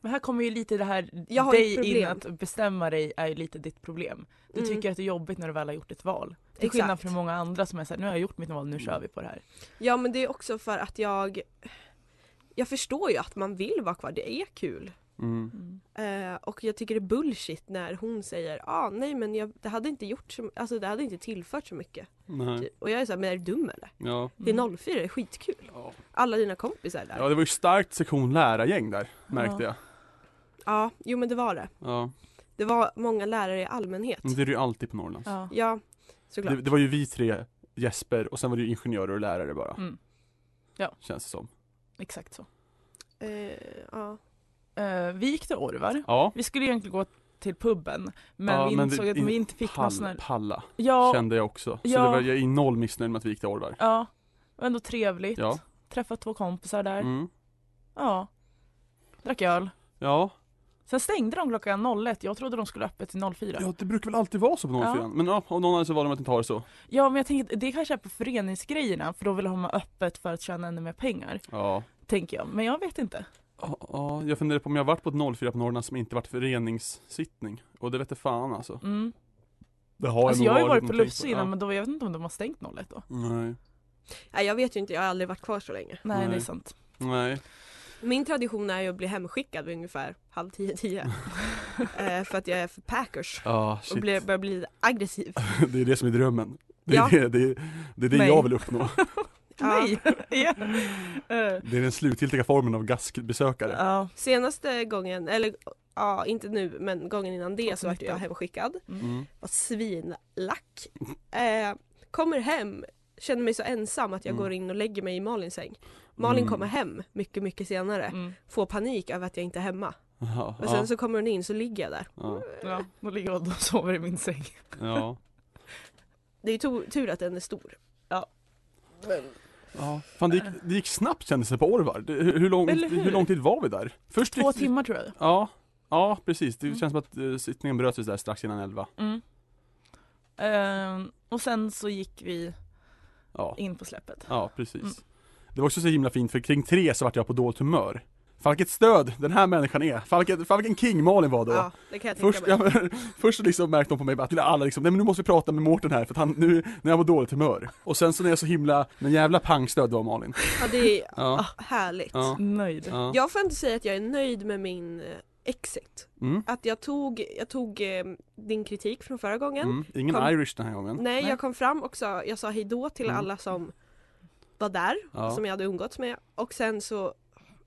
F: Men här kommer ju lite det här,
E: Jag har ett
F: dig in
E: problem.
F: att bestämma dig är ju lite ditt problem. Du
E: Mm.
F: tycker att det är jobbigt när du väl har gjort ett val. Till skillnad
E: Exakt.
F: från många andra som är såhär, nu har jag gjort mitt val, nu kör vi på det här.
E: ja men det är också för att jag Jag förstår ju att man vill vara kvar, det är kul.
C: Mm.
F: Mm.
E: Eh, och jag tycker det är bullshit när hon säger ah, nej men jag, det hade inte gjort så, alltså det hade inte tillfört så mycket.
C: Nej.
E: Typ. Och jag är såhär, men är du dum eller?
C: Ja.
F: Mm.
E: Det är 04, det är skitkul.
C: Ja.
E: Alla dina kompisar är där.
C: ja, det var ju starkt sektion lärargäng där, märkte jag.
E: Ja, jo men det var det.
C: Ja.
E: Det var många lärare i allmänhet.
C: Men Det är det ju alltid på Norrland.
F: Ja.
E: Ja, såklart.
C: Mm. Det, det var ju vi tre, Jesper, och sen var det ju ingenjörer och lärare bara.
F: Mm. Ja.
C: Känns det som.
F: Exakt så.
E: Eh, ja.
F: Eh, vi gick till Orvar.
C: Ja.
F: Vi skulle egentligen gå till puben men
C: Ja,
F: vi
C: men
F: insåg
C: det-
F: att vi
C: in-
F: inte fick någon sån
C: Pall,
F: här...
C: palla,
F: Ja,
C: kände jag också. Så
F: Ja.
C: det var, jag är i noll missnöjd med att vi gick till Orvar.
F: ja. Det var ändå trevligt.
C: Ja.
F: Träffat två kompisar där.
C: Mm.
F: Ja. Drack öl.
C: Ja.
F: Sen stängde de klockan 01. Jag trodde de skulle ha öppet till 04.
C: ja, det brukar väl alltid vara så på
F: Ja.
C: Norrfjärden. Men ja, av någon anledning så valde de att inte ha det så.
F: Ja men jag tänker att det kanske är på föreningsgrejerna för då vill de ha öppet för att tjäna ännu mer pengar.
C: Ja.
F: Tänker jag, men jag vet inte.
C: Ja, ja, jag funderar på om jag varit på ett 04 på Norrland som inte varit föreningssittning. Och det vete fan alltså.
F: Mm.
C: Det har
F: alltså jag har ju varit på
C: men tänkt
F: Lufse innan men då, jag vet inte om de har stängt 01 då.
C: Nej,
E: Nej, jag vet ju inte, jag har aldrig varit kvar så länge.
F: Nej, det är
C: Nej.
F: sant.
C: nej.
E: Min tradition är ju att bli hemskickad vid ungefär halv tio, tio. eh, för att jag är för packers.
C: Ja,
E: Och
C: shit.
E: blir, börjar bli lite aggressiv.
C: det är det som är drömmen. Det är
E: Ja.
C: det, det, är, det, är det
F: Nej.
C: jag vill uppnå.
E: Ja.
F: Nej! ja. Eh,
C: Det är den slutgiltiga formen av gaskbesökare.
F: ja.
E: Senaste gången, eller ja, inte nu, men gången innan det så vart jag
F: 2019.
E: hemskickad.
C: Mm.
E: Var svinlack. Eh, kommer hem, känner mig så ensam att jag
C: Mm.
E: går in och lägger mig i Malins säng. Malin
C: Mm.
E: kommer hem mycket, mycket senare.
F: Mm.
E: Får panik över att jag inte är hemma.
C: Ja,
E: Och sen
C: ja,
E: så kommer hon in så ligger jag där.
C: ja,
F: ja, då ligger jag och sover i min säng.
C: ja.
E: Det är ju to- tur att den är stor.
C: Ja, fan det gick, det gick snabbt kändes det på Orvar. Det, hur, hur, lång,
F: Eller hur?
C: hur? lång tid var vi där? Först
F: Två
C: gick-
F: timmar tror jag.
C: Ja, ja precis. Det
F: Mm.
C: känns som att eh, sittningen bröts där strax innan elva.
F: Mm. Eh, och sen så gick vi
C: Ja,
F: in på släppet.
C: ja precis.
F: Mm.
C: Det var också så himla fint för kring tre så vart jag på dåligt humör. Fan vilket stöd den här människan är. Fan vilken, fan vilken king Malin var då.
E: Ja, det kan jag tänka
C: Först,
E: mig.
C: ja, först så liksom märkte de på mig att alla liksom, nej men nu måste vi prata med Mårten här för att han, nu, när jag var dåligt humör. Och sen så när jag så himla, men jävla pangstöd var Malin.
E: Ja, det är ah,
C: Ja,
E: härligt.
C: ja,
F: Nöjd.
C: ja.
E: Jag får inte säga att jag är nöjd med min eh, exit.
C: Mm,
E: Att jag tog, jag tog eh, din kritik från förra gången.
C: mm. Ingen
E: Kom.
C: Irish den här gången.
E: Nej,
F: Nej.
E: jag kom fram och sa, jag sa hejdå till
C: Mm.
E: alla som var där,
C: Ja.
E: som jag hade umgåtts med. Och sen så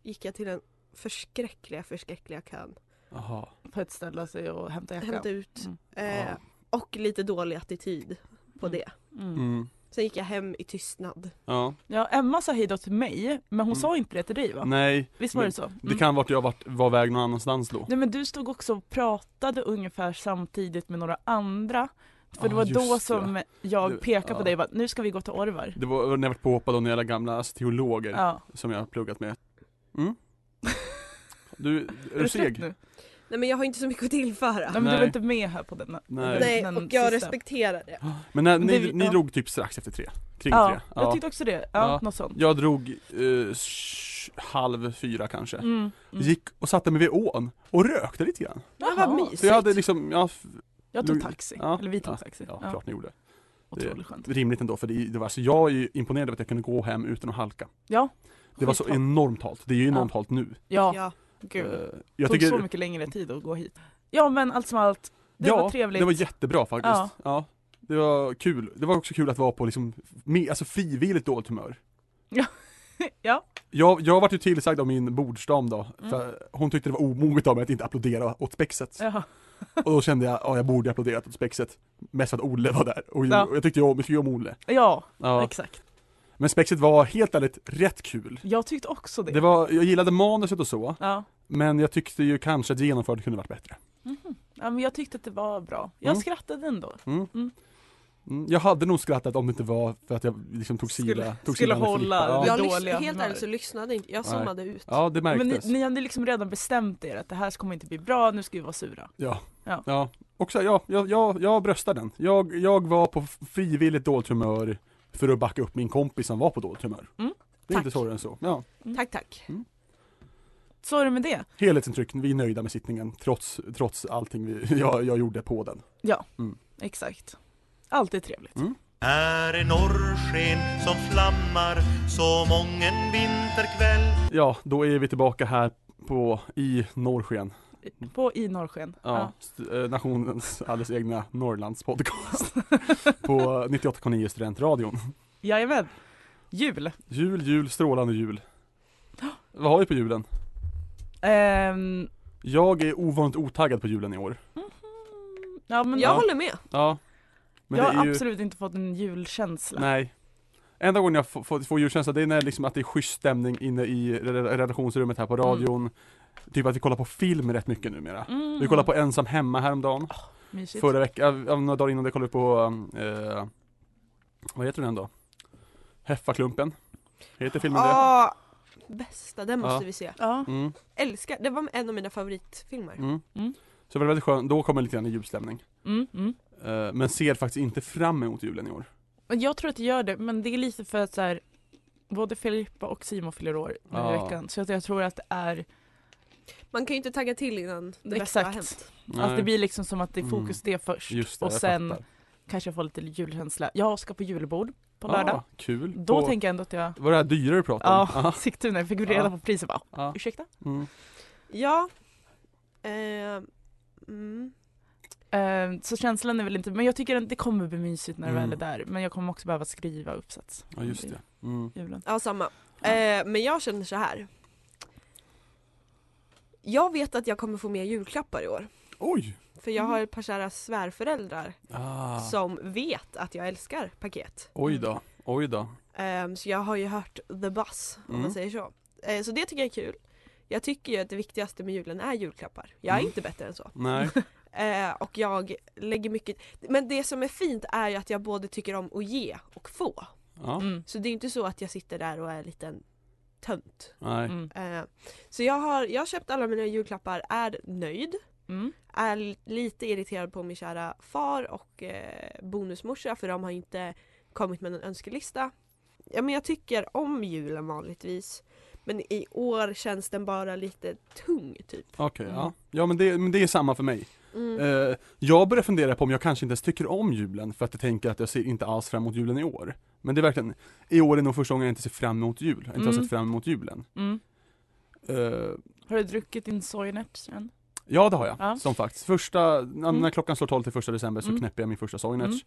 E: gick jag till den förskräckliga, förskräckliga kön.
C: Jaha.
F: På ett ställe sig och hämta jackan.
E: Hämta ut.
F: Mm.
E: Eh,
C: Ja.
E: Och lite dålig attityd på
F: Mm.
E: det.
F: Mm.
C: Mm.
E: Sen gick jag hem i tystnad.
C: Ja,
F: Ja, Emma sa hejdå till mig, men hon
C: Mm.
F: sa inte det till dig va?
C: nej,
F: Visst var det
C: men
F: så? Mm.
C: det kan vara att jag vart, var väg någon annanstans då.
F: Nej men du stod också och pratade ungefär samtidigt med några andra För
C: Ah,
F: det var
C: just
F: då
C: det.
F: som jag
C: Du-
F: pekade på
C: ja.
F: dig och bara, nu ska vi gå till Orvar
C: Det var när jag vart påhoppad av några gamla alltså, teologer
F: Ja,
C: som jag har pluggat med. Mm. Du, är
F: Är du
C: du
F: trött
C: seg?
F: nu?
E: Nej men jag har inte så mycket att tillföra.
F: Nej men du var
C: Nej.
F: inte med här på den
C: Nej.
E: Nej
F: den
E: och jag
F: sista.
E: respekterar det.
C: Men när, ni,
F: Det-
C: ni
F: ja.
C: drog typ strax efter tre, kring
F: Ja,
C: tre
F: jag tyckte också det. Ja,
C: Ja.
F: något sånt.
C: Jag drog eh, sh- halv fyra kanske
F: Mm, mm.
C: Gick och satte mig vid ån och rökte lite grann
E: Men
F: Jaha.
E: vad
C: För jag
E: mysigt.
C: hade liksom, ja, f-
F: Jag tog taxi,
C: Ja.
F: eller vi tog taxi.
C: ja, klart ni gjorde
F: Otroligt skönt.
C: Rimligt ändå för det, det var, så jag är ju imponerad över att jag kunde gå hem utan att halka
F: Ja,
C: Det var så
F: skitbra.
C: enormt halt, det är ju enormt
F: Ja.
C: halt nu
F: Ja,
E: Ja.
F: gud.
C: Eh,
F: Det
C: Jag
F: tog så
C: tycker,
F: mycket längre tid att gå hit. Ja men allt som allt, det
C: ja,
F: var trevligt.
C: det var jättebra faktiskt
F: Ja.
C: ja. Det var kul, det var också kul att vara på liksom, med, alltså frivilligt dåligt humör
F: ja.
C: Jag, jag vart ju tillsagd av min bordsdam då, för
F: Mm.
C: hon tyckte det var omoget av mig att inte applådera åt spexet
F: ja.
C: Och då kände jag, ja jag borde applåderat åt spexet Mest för att Olle var där, och
F: Ja.
C: jag, och jag tyckte ju om, jag tycker ju om Olle
F: Ja,
C: ja.
F: exakt.
C: Men spexet var helt ärligt rätt kul
F: Jag tyckte också det.
C: Det var, jag gillade manuset och så,
F: Ja.
C: men jag tyckte ju kanske att genomförandet kunde varit bättre
F: Mhm. ja, men jag tyckte att det var bra. Jag
C: Mm.
F: skrattade ändå.
C: mm.
F: Mm.
C: Mm, Jag hade nog skrattat om det inte var för att jag liksom tog
F: Skulle-
C: sida tog
F: skulle
C: sida med
F: hålla
C: Filippa. ja.
F: den-
E: Jag lys-
F: dåliga
E: helt
F: humör.
E: ärligt så lyssnade inte jag,
C: Nej.
E: zonade ut.
C: ja, det
F: Men ni,
C: märktes
F: ni hade liksom redan bestämt er att det här kommer inte bli bra, nu ska vi vara sura.
C: Ja.
F: Ja.
C: Ja. Och så, ja, jag, jag, jag bröstar den. Jag, jag var på frivilligt dåligt humör för att backa upp min kompis som var på dåligt humör.
F: Mm.
C: Det är
E: Tack.
C: inte svårare än så. Ja.
E: Tack tack.
F: Så är det med det.
C: Helhetsintryck, vi är nöjda med sittningen trots, trots allting vi, jag, jag gjorde på den.
F: Exakt. Alltid trevligt.
B: Här är norrsken som flammar så mången vinterkväll
C: Ja, då är vi tillbaka här på, i Norrsken.
F: I- På i norrsken.
C: Mm. Ja, st- eh, nationens alldeles egna Norrlands podcast. på 98,9 Studentradion.
F: Jajamän. Jul.
C: Jul, jul, strålande jul. Vad har vi på julen?
F: Ehm, mhm.
C: Jag är ovanligt otaggad på julen i år.
F: ja men
E: jag
F: jag,
E: håller med.
C: Ja. Men
F: jag
C: det är
F: har
C: ju,
F: absolut inte fått en julkänsla.
C: nej. Enda gången jag får, får, får julkänsla, det är när liksom att det är schysst stämning inne i re- redaktionsrummet här på radion. Typ att vi kollar på film rätt mycket numera.
F: Mm. Ah,
C: Vi kollade på Ensam Hemma häromdagen.
F: Mysigt.
C: Förra veckan, äh, några dagar innan det kollade vi på, eh, vad heter den då? Heffaklumpen. Heter filmen
F: Ah.
C: det?
E: Ja, bästa, den måste
C: Ja.
E: vi se.
F: Ja.
C: Mm,
E: Älskar, det var en av mina favoritfilmer.
C: mm.
F: Mm.
C: Så det var väldigt skönt, då kommer lite grann i julstämning.
F: Mm, mm.
C: Eh, men ser faktiskt inte fram emot julen i år.
F: Men Jag tror att det gör det, men det är lite för att så här, både Filippa och Simon fyller år nu i
C: Ja.
F: veckan. Så att jag tror att det är,
E: Man kan ju inte tagga till innan det bästa har
F: Exakt.
E: hänt.
F: att det blir liksom som att det är
C: Mm.
F: fokus det först.
C: Just det,
F: och
C: jag
F: sen
C: fattar.
F: kanske jag får lite julkänsla. Jag ska på julbord på
C: Ja,
F: lördag.
C: kul.
F: Då
C: Ah, på, Ah.
F: tänker jag ändå att jag,
C: Var det här dyrare du pratade
F: ja,
C: om? Ja.
F: Sigtuna, jag fick reda
C: Ja.
F: på priset bara, "Ah,
C: ja.
F: ursäkta?
C: Mm.
E: Ja. Eh, mm.
F: Ehm, så känslan är väl inte, men jag tycker att det kommer bli mysigt när det
C: Mm.
F: väl är där. Men jag kommer också behöva skriva uppsats.
C: ja, just det. Mm.
F: Julen.
E: Ja, samma. Eh, men jag känner så här. Jag vet att jag kommer få mer julklappar i år.
C: Oj!
E: För jag har ett par kära svärföräldrar
C: Ah.
E: som vet att jag älskar paket.
C: Oj då, oj då.
E: Ehm, så jag har ju hört the buzz om man
C: Mm.
E: säger så. Eh, så det tycker jag är kul. Jag tycker ju att det viktigaste med julen är julklappar. Jag är
C: Mm.
E: inte bättre än så.
C: Nej.
E: Eh, och jag lägger mycket, men det som är fint är ju att jag både tycker om att ge och få.
C: Ja.
F: Mm.
E: Så det är inte så att jag sitter där och är en liten tönt.
C: Nej.
F: Mm.
E: Eh, så jag har, jag har köpt alla mina julklappar, är nöjd.
F: Mm.
E: Är l- lite irriterad på min kära far och eh, bonusmorsa för de har inte kommit med någon önskelista. Ja men jag tycker om julen vanligtvis. Men i år känns den bara lite tung typ.
C: Okej,
F: Mm.
C: ja. Ja men det, men det är samma för mig.
E: Mm.
C: Eh, jag börjar fundera på om jag kanske inte ens tycker om julen för att jag tänker att jag ser inte alls fram emot julen i år. Men det är verkligen, i år är nog första gången jag inte ser fram emot jul, inte har
F: Mm.
C: sett fram emot julen.
F: Mm.
C: Eh,
F: Har du druckit din Soinerts än?
C: Ja det har jag,
F: Ja.
C: som faktiskt. Första, när
F: Mm.
C: klockan slår 12 till första december så
F: Mm.
C: knäpper jag min första Soinerts.
F: Mm.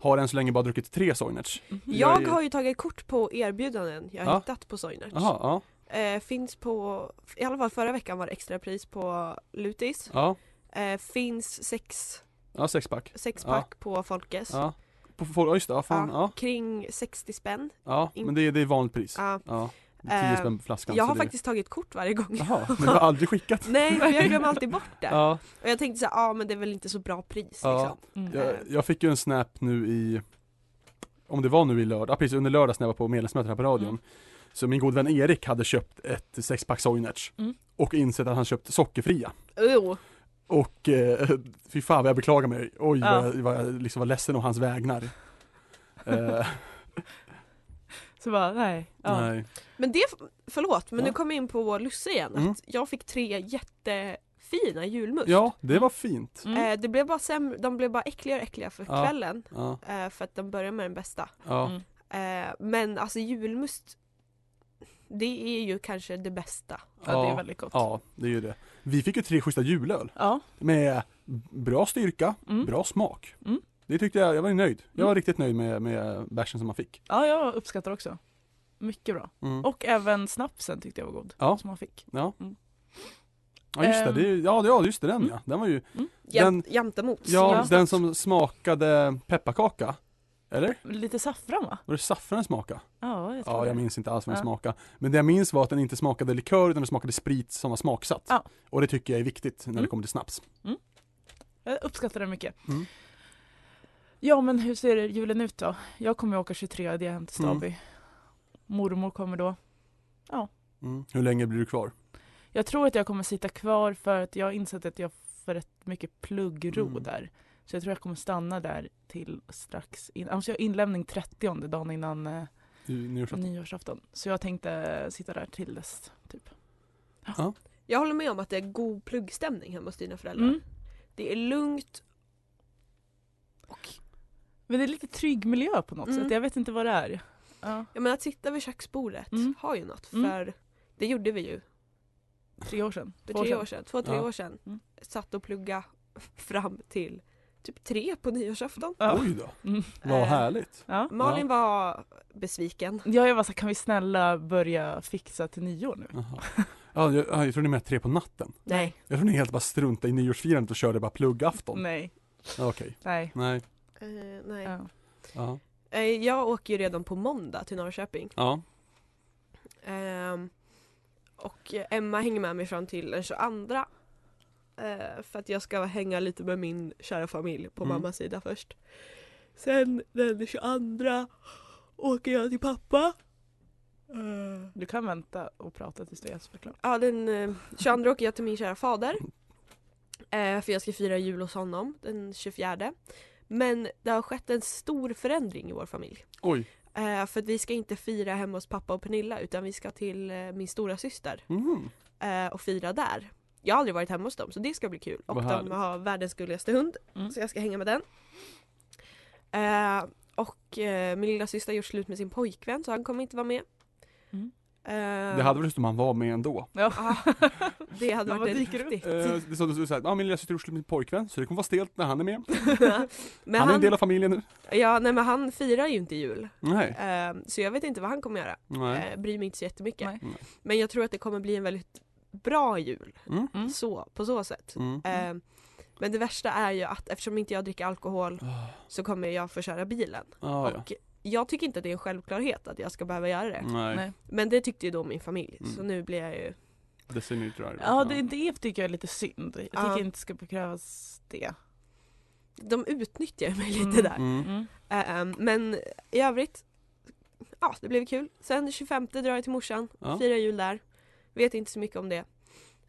C: Har än så länge bara druckit tre Soinerts.
E: Jag
C: jag är-
E: har ju tagit kort på erbjudanden jag har
C: Ja.
E: hittat på Soinerts.
C: Jaha, ja.
E: Eh, finns på, i alla fall förra veckan var det extrapris på Lutis.
C: Ja,
E: Eh, finns sex,
C: ja sexpack.
E: sexpack på Folkes.
C: Ja. På, på, ja just det, ja, fan, ja.
E: Kring 60 spänn.
C: Ja, men det, är- det är vanligt pris. Ja.
E: Ja.
C: 10
E: Eh,
F: Ehm,
C: spänn flaskan.
E: jag
C: så
E: har
C: det...
E: faktiskt tagit kort varje gång.
C: Jaha, men du har aldrig skickat?
E: Nej, för jag glömmer alltid bort det.
C: Ja,
E: Och jag tänkte så här, ja ah, men det är väl inte så bra pris
C: Ja.
E: liksom.
F: Mm.
C: jag, jag fick ju en snap nu i Om det var nu i lördag, ja, precis under lördags när jag var på medlemsmötet här på radion
F: Mm.
C: Så min god vän Erik hade köpt ett sexpack Soinerts
F: Mm.
C: Och insett att han köpt sockerfria
E: Jo,
C: Och eh, fy fan vad jag beklagar mig, oj
F: Ja.
C: vad, jag, vad jag liksom var ledsen om hans vägnar eh,
F: Så bara, nej. Ja.
C: nej.
E: Men det, förlåt, men
C: Ja.
E: nu kommer jag in på Lusse igen.
C: Mm.
E: Att jag fick tre jättefina julmust.
C: Ja, det var fint
F: Mm.
E: Eh, det blev bara sämre, de blev bara äckligare och äckligare för
C: Ja.
E: kvällen.
C: Ja,
E: Eh, för att de börjar med den bästa.
C: ja,
F: Mm.
E: Eh, men alltså julmust, det är ju kanske det bästa.
F: ja, det är
C: ja,
F: väldigt gott.
C: ja, det är ju det Vi fick ju tre schyssta julöl
F: Ja.
C: med bra styrka,
F: Mm.
C: bra smak
F: Mm.
C: Det tyckte jag, jag var nöjd Jag var riktigt nöjd med, med bärsen som man fick
F: ja, jag uppskattar också. Mycket bra.
C: mm.
F: Och även snapsen tyckte jag var god.
C: Ja.
F: Som man fick.
C: Ja just det,
F: ehm.
C: det är, ju- ja, det- ja just det den
F: Mm.
C: ja, den var ju
E: Jämt, jämte mot.
C: Ja,
F: Ja.
C: den som smakade pepparkaka Eller?
F: Lite saffran va?
C: Var det saffran den smakade?
F: Ja, jag tror
C: Ja,
F: det.
C: jag minns inte alls vad den
F: Ja.
C: smakade. Men det jag minns var att den inte smakade likör utan den smakade sprit som var smaksatt.
F: Ja.
C: Och det tycker jag är viktigt när det
F: Mm.
C: kommer till snaps.
F: Jag uppskattar det mycket.
C: Mm.
F: Ja men hur ser julen ut då? Jag kommer ju åka 23 det är hem till Staby. Mormor kommer då.
C: Mm. Hur länge blir du kvar?
F: Jag tror att jag kommer sitta kvar för att jag har insett att jag får rätt mycket pluggro
C: Mm.
F: där. Så jag tror jag kommer stanna där till strax in. Alltså jag har inlämning 30 dagen innan eh,
C: I nyårsafton?
F: nyårsafton. Så jag tänkte sitta där till dess. Typ.
E: Jag håller med om att det är god pluggstämning hemma hos dina föräldrar.
F: Mm.
E: Det är lugnt. Och,
F: Men det är lite trygg miljö på något
E: Mm.
F: sätt. Jag vet inte vad det är. Ja,
E: jag menar att sitta vid köksbordet
F: Mm.
E: har ju något.
F: Mm.
E: För det gjorde vi ju
F: tre år sedan.
E: för
F: Två
E: tre
F: sedan.
E: år sedan. Två, tre
C: Ja.
E: år sedan.
F: Mm.
E: Satt och plugga fram till typ tre på nyårsafton.
F: Ja.
C: Oj då,
F: Mm.
C: vad
E: Eh,
C: härligt.
F: Ja.
E: Malin var besviken.
F: Ja, jag var så här, kan vi snälla börja fixa till nyår nu?
C: Jaha. Ja, jag, ja, jag tror ni med tre på natten.
E: Nej.
C: Jag tror ni helt bara struntade i nyårsfirandet och körde bara pluggafton.
F: Nej,
C: Ja, Okej,
F: nej.
C: nej.
E: Eh, nej.
F: Ja.
C: Ja.
E: Eh, jag åker ju redan på måndag till Norrköping.
C: ja.
E: Ehm, och Emma hänger med mig fram till den 22. Eh, för att jag ska hänga lite med min kära familj på
C: Mm.
E: mammas sida först. Sen den 22 åker jag till pappa. Eh,
F: Du kan vänta och prata tills du är såklart.
E: Ja, den eh, 22 åker jag till min kära fader. Eh, för jag ska fira jul hos honom den 24. Men det har skett en stor förändring i vår familj.
C: Oj.
E: Eh, för att vi ska inte fira hemma hos pappa och Pernilla utan vi ska till eh, min stora syster
C: Mhm.
E: eh, och fira där. Jag har aldrig varit hemma hos dem så det ska bli kul. Och
C: Vad
E: de
C: härligt.
E: har världens gulligaste hund
F: Mm.
E: så jag ska hänga med den. Eh, och eh, min lilla syster har gjort slut med sin pojkvän så han kommer inte vara med.
F: Mm.
E: Eh,
C: Det hade väl just om man var med ändå.
E: ah, det hade
F: Men vad
E: varit
F: dyker
E: riktigt.
C: Eh, det är som du säger, ja min lilla syster har gjort slut med sin pojkvän så det kommer vara stelt när han är med. Eh,
E: men
C: han är en
E: han,
C: del av familjen nu.
E: ja, nej, men han firar ju inte jul.
C: Nej.
E: Eh, så jag vet inte vad han kommer göra.
C: nej.
E: Eh, bryr mig inte så jättemycket.
F: Nej.
C: Nej.
E: Men jag tror att det kommer bli en väldigt bra jul.
C: Mm.
F: Mm.
E: Så, på så sätt.
C: Mm.
E: Eh, men det värsta är ju att eftersom inte jag dricker alkohol
C: Ah,
E: så kommer jag få köra bilen.
C: ah, ja.
E: Och jag tycker inte att det är en självklarhet att jag ska behöva göra det.
C: Nej,
F: Nej.
E: Men det tyckte ju då min familj.
C: Mm.
E: Så nu blir jag ju...
C: det ser ni tyvärr.
F: Ja, det, det tycker jag är lite synd. Jag tycker
E: Ja.
F: inte ska bekrävas det.
E: De utnyttjar ju mig
F: Mm.
E: lite där.
C: Mm.
F: Mm.
E: Eh, eh, men i övrigt, ja det blev kul. Sen den 25 drar jag till morsan,
C: Ja.
E: firar jul där. Vet inte så mycket om det.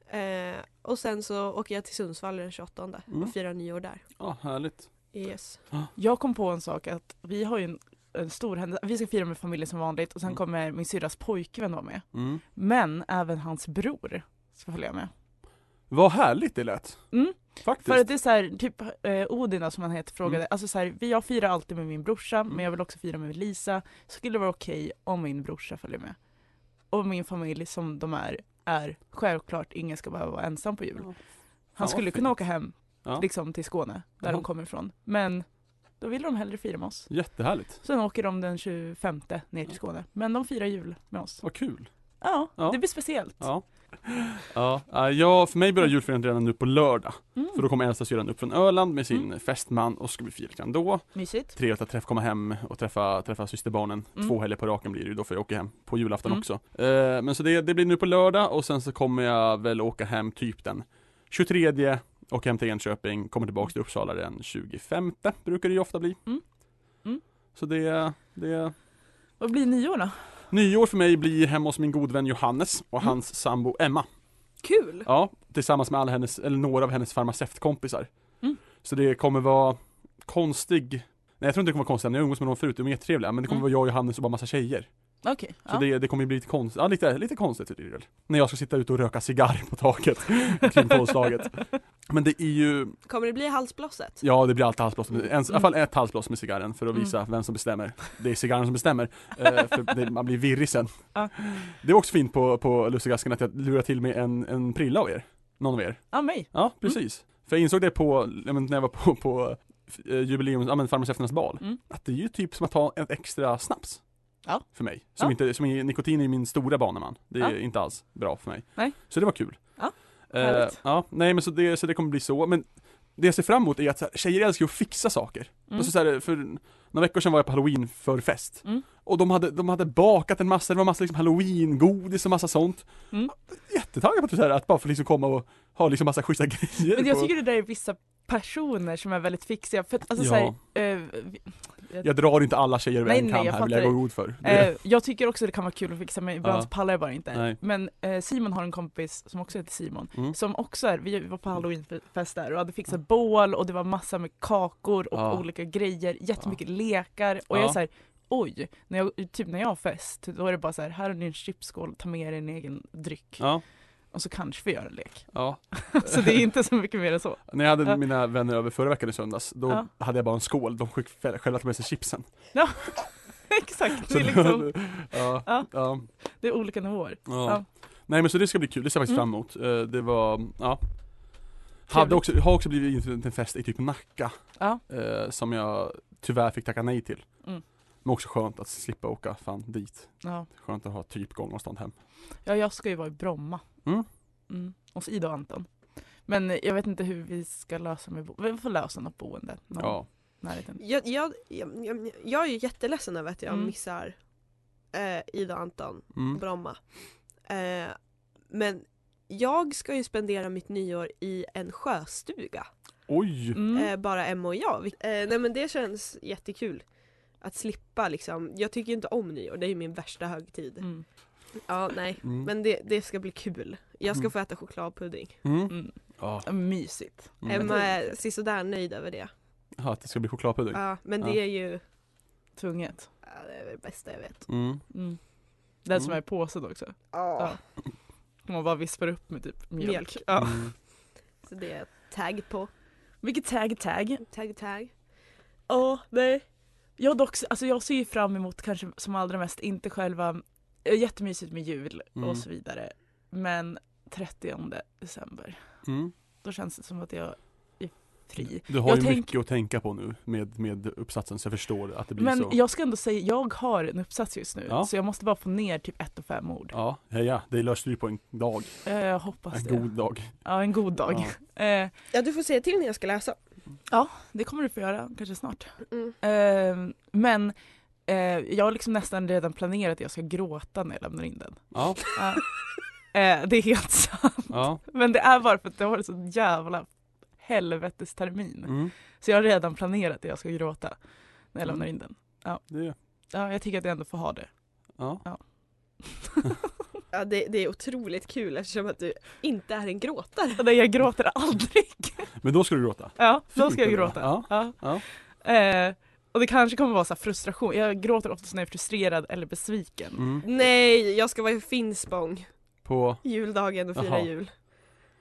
E: Eh, och sen så åker jag till Sundsvall den 28
C: Mm.
E: och firar nyår där.
C: Ja, härligt.
E: Yes.
F: Jag kom på en sak att vi har ju en, en stor händelse. Vi ska fira med familjen som vanligt och sen
C: Mm.
F: kommer min syrras pojkvän vara med.
C: Mm.
F: Men även hans bror ska följa med.
C: Vad härligt det lät.
F: Mm.
C: Faktiskt.
F: För att det är så här, typ eh, Odina som han heter frågade,
C: Mm.
F: alltså så här, vi- jag firar alltid med min brorsa
C: Mm.
F: men jag vill också fira med Lisa. Skulle det vara okej om min brorsa följer med? Och min familj som de är, är självklart ingen ska behöva vara ensam på jul.
C: Ja.
F: Han
C: vad
F: skulle kunna
C: fint.
F: åka hem
C: Ja.
F: liksom till Skåne, där
C: Jaha.
F: de kommer ifrån. Men då ville de hellre fira med oss.
C: Jättehärligt.
F: Sen åker de den 25 ner till Skåne. Men de firar jul med oss.
C: Vad kul.
F: Ja,
C: Ja.
F: det blir speciellt.
C: Ja. Ja, eh, ja, för mig börjar julfirandet redan nu på lördag.
F: Mm.
C: För då kommer äldsta syrran upp från Öland med sin fästman och ska bli fira lite grann då.
F: Mysigt.
C: Trevligt att träff, komma hem och träffa, träffa systerbarnen.
F: Mm.
C: Två helger på raken blir det ju då för jag åker hem på julafton
F: Mm.
C: också. Eh, men så det, det blir nu på lördag och sen så kommer jag väl åka hem typ den 23 och hem till Enköping, kommer tillbaks till Uppsala den 25 brukar det ju ofta bli.
F: Mm. Mm.
C: Så det, det
F: Vad blir nyår då? Mm.
C: Nyår för mig blir hemma hos min god vän Johannes och hans sambo Emma.
E: Kul!
C: Ja, tillsammans med alla hennes, eller några av hennes farmaceutkompisar.
F: Mm.
C: Så det kommer vara konstig, nej jag tror inte det kommer vara konstigt, jag umgås med dem förut, de är jättetrevliga, men det kommer
F: Mm.
C: vara jag och Johannes och bara massa tjejer.
F: Okej.
C: Så
F: ja.
C: det, det kommer ju bli lite konstigt, ja lite, lite konstigt blir det väl. När jag ska sitta ute och röka cigarr på taket kring tolvslaget. Men det är ju,
E: Kommer det bli halsblåset?
C: ja det blir alltid halsblås, med- en, i alla
F: Mm.
C: fall ett halsblås med cigarren för att visa vem som bestämmer. Det är cigarren som bestämmer, eh, för det, man blir virrig sen.
F: Ja.
C: Det var också fint på, på Lussegasken att jag lurade till mig en, en prilla av er, någon av er.
F: Ja, mig.
C: Ja, precis. För jag insåg det på, jag men, när jag var på, på eh, jubileums, ja men farmaceuternas bal,
F: Mm.
C: att det är ju typ som att ta ett extra snaps.
F: Ja.
C: För mig. Som
F: Ja.
C: inte, som är, nikotin är min stora baneman. Det är inte alls bra för mig.
F: Nej.
C: Så det var kul.
F: Ja,
C: Eh,
F: härligt.
C: ja, nej men så det, så det kommer bli så, men det jag ser fram emot är att så här, tjejer älskar ju att fixa saker.
F: Mm.
C: Alltså så här, för några veckor sedan var jag på halloween för fest
F: Mm.
C: Och de hade, de hade bakat en massa, det var massa liksom halloween-godis och massa sånt
F: Mm.
C: Jättetaggad på det här, att bara få liksom komma och ha liksom massa schyssta grejer
F: Men jag
C: på.
F: tycker det där är vissa personer som är väldigt fixiga. För att, alltså,
C: Ja.
F: så här, eh, vi-
C: Jag drar inte alla tjejer över
F: Nej,
C: en
F: nej,
C: kam
F: jag
C: här vill jag
F: fattar
C: gå god för Det-
F: eh, jag tycker också det kan vara kul att fixa men ibland
C: Ja.
F: så pallar jag bara inte.
C: Nej.
F: Men eh, Simon har en kompis som också heter Simon
C: Mm.
F: som också är, vi var på halloweenfest där och hade fixat bål och det var massa med kakor och
C: Ja.
F: olika grejer, jättemycket lekar och
C: Ja.
F: jag är såhär oj, när jag, typ när jag har fest då är det bara så här, här har ni en chipsskål, ta med er en egen dryck
C: Ja,
F: och så kanske vi gör en lek.
C: ja
F: så det är inte så mycket mer än så.
C: När jag hade
F: Ja.
C: mina vänner över förra veckan i söndags Då
F: Ja.
C: hade jag bara en skål, de skick- själva tog med sig chipsen
F: Exakt,
C: Så
F: det är, liksom,
C: ja, ja.
F: Ja.
C: Ja,
F: det är olika nivåer. Ja.
C: Nej men så det ska bli kul, det ser jag faktiskt
F: Mm.
C: fram emot Eh, Det var, ja hade
F: Trevligt.
C: också, Har också blivit inbjuden till en fest i typ Nacka
F: Ja.
C: eh, som jag tyvärr fick tacka nej till.
F: Mm.
C: Men också skönt att slippa åka fan dit.
F: Ja.
C: Skönt att ha typ gångavstånd hem.
F: ja, jag ska ju vara i Bromma.
C: Mm.
F: Mm. Hos Ida och Anton. Men jag vet inte hur vi ska lösa med bo- Vi får lösa något boende. Någon
C: Ja.
F: närheten.
E: Jag, jag, jag, jag, jag är ju jätteledsen över att jag
F: Mm.
E: missar eh, Ida och Anton
C: Mm.
E: Bromma. Eh, men jag ska ju spendera mitt nyår i en sjöstuga.
C: Oj!
F: Mm.
E: Eh, bara Emma och jag. Eh, nej men det känns jättekul. Att slippa liksom. Jag tycker ju inte om nyår, det är ju min värsta högtid.
F: Mm.
E: Ja nej.
C: Mm.
E: Men det, det ska bli kul. Jag ska
C: Mm.
E: få äta chokladpudding.
C: Mm.
F: Mm.
C: Ja.
F: Mysigt.
C: Mm.
E: Emma är sisådär nöjd över det.
C: Ja, att det ska bli chokladpudding.
E: Ja, men
C: Ja.
E: det är ju
F: Tvunget.
E: ja, det, är det bästa jag vet.
C: Mm.
F: Mm. Den som
C: Mm.
F: är i påsen också.
E: Ja.
F: Ja. Man bara vispar upp med typ mjölk.
E: Mjölk.
F: Ja.
C: Mm.
E: Så det är tagg på.
F: Vilket tag tag.
E: Tagg tagg.
F: Ja, nej. Jag, dock, alltså jag ser ju fram emot kanske som allra mest, inte själva, eh, jättemysigt med jul
C: Mm.
F: och så vidare. Men 30 december,
C: Mm.
F: då känns det som att jag är fri.
C: Du har
F: Jag
C: ju
F: tänk-
C: mycket att tänka på nu med, med uppsatsen så jag förstår att det blir
F: Men
C: så.
F: jag ska ändå säga, jag har en uppsats just nu
C: Ja.
F: så jag måste bara få ner typ ett och fem ord.
C: Ja, heja, det löste du på en dag.
F: Eh, Jag hoppas
C: En
F: det.
C: god dag.
F: Ja, en god dag. Eh,
E: Ja du får säga till när jag ska läsa.
F: det kommer du få göra, kanske snart.
E: Mm.
F: Eh, men eh, jag har liksom nästan redan planerat att jag ska gråta när jag lämnar in den.
C: Ja,
F: Ja. Eh, det är helt sant.
C: ja.
F: Men det är bara för att det har varit så jävla helvetes termin.
C: Mm.
F: Så jag har redan planerat att jag ska gråta när jag lämnar in den.
C: Det,
F: Ja, jag tycker att jag ändå får ha det.
C: ja.
E: Ja, det, det är otroligt kul eftersom att du inte är en gråtare.
F: Nej, jag gråter aldrig.
C: Men då ska du gråta.
F: Ja, då
C: Fint
F: ska jag
C: ändå.
F: gråta.
C: Ja,
F: Ja.
C: ja.
F: Eh, och det kanske kommer vara så här frustration. Jag gråter oftast när jag är frustrerad eller besviken.
C: Mm.
E: Nej, jag ska vara i Finspång
C: På,
E: juldagen och fira
C: Jaha.
E: jul.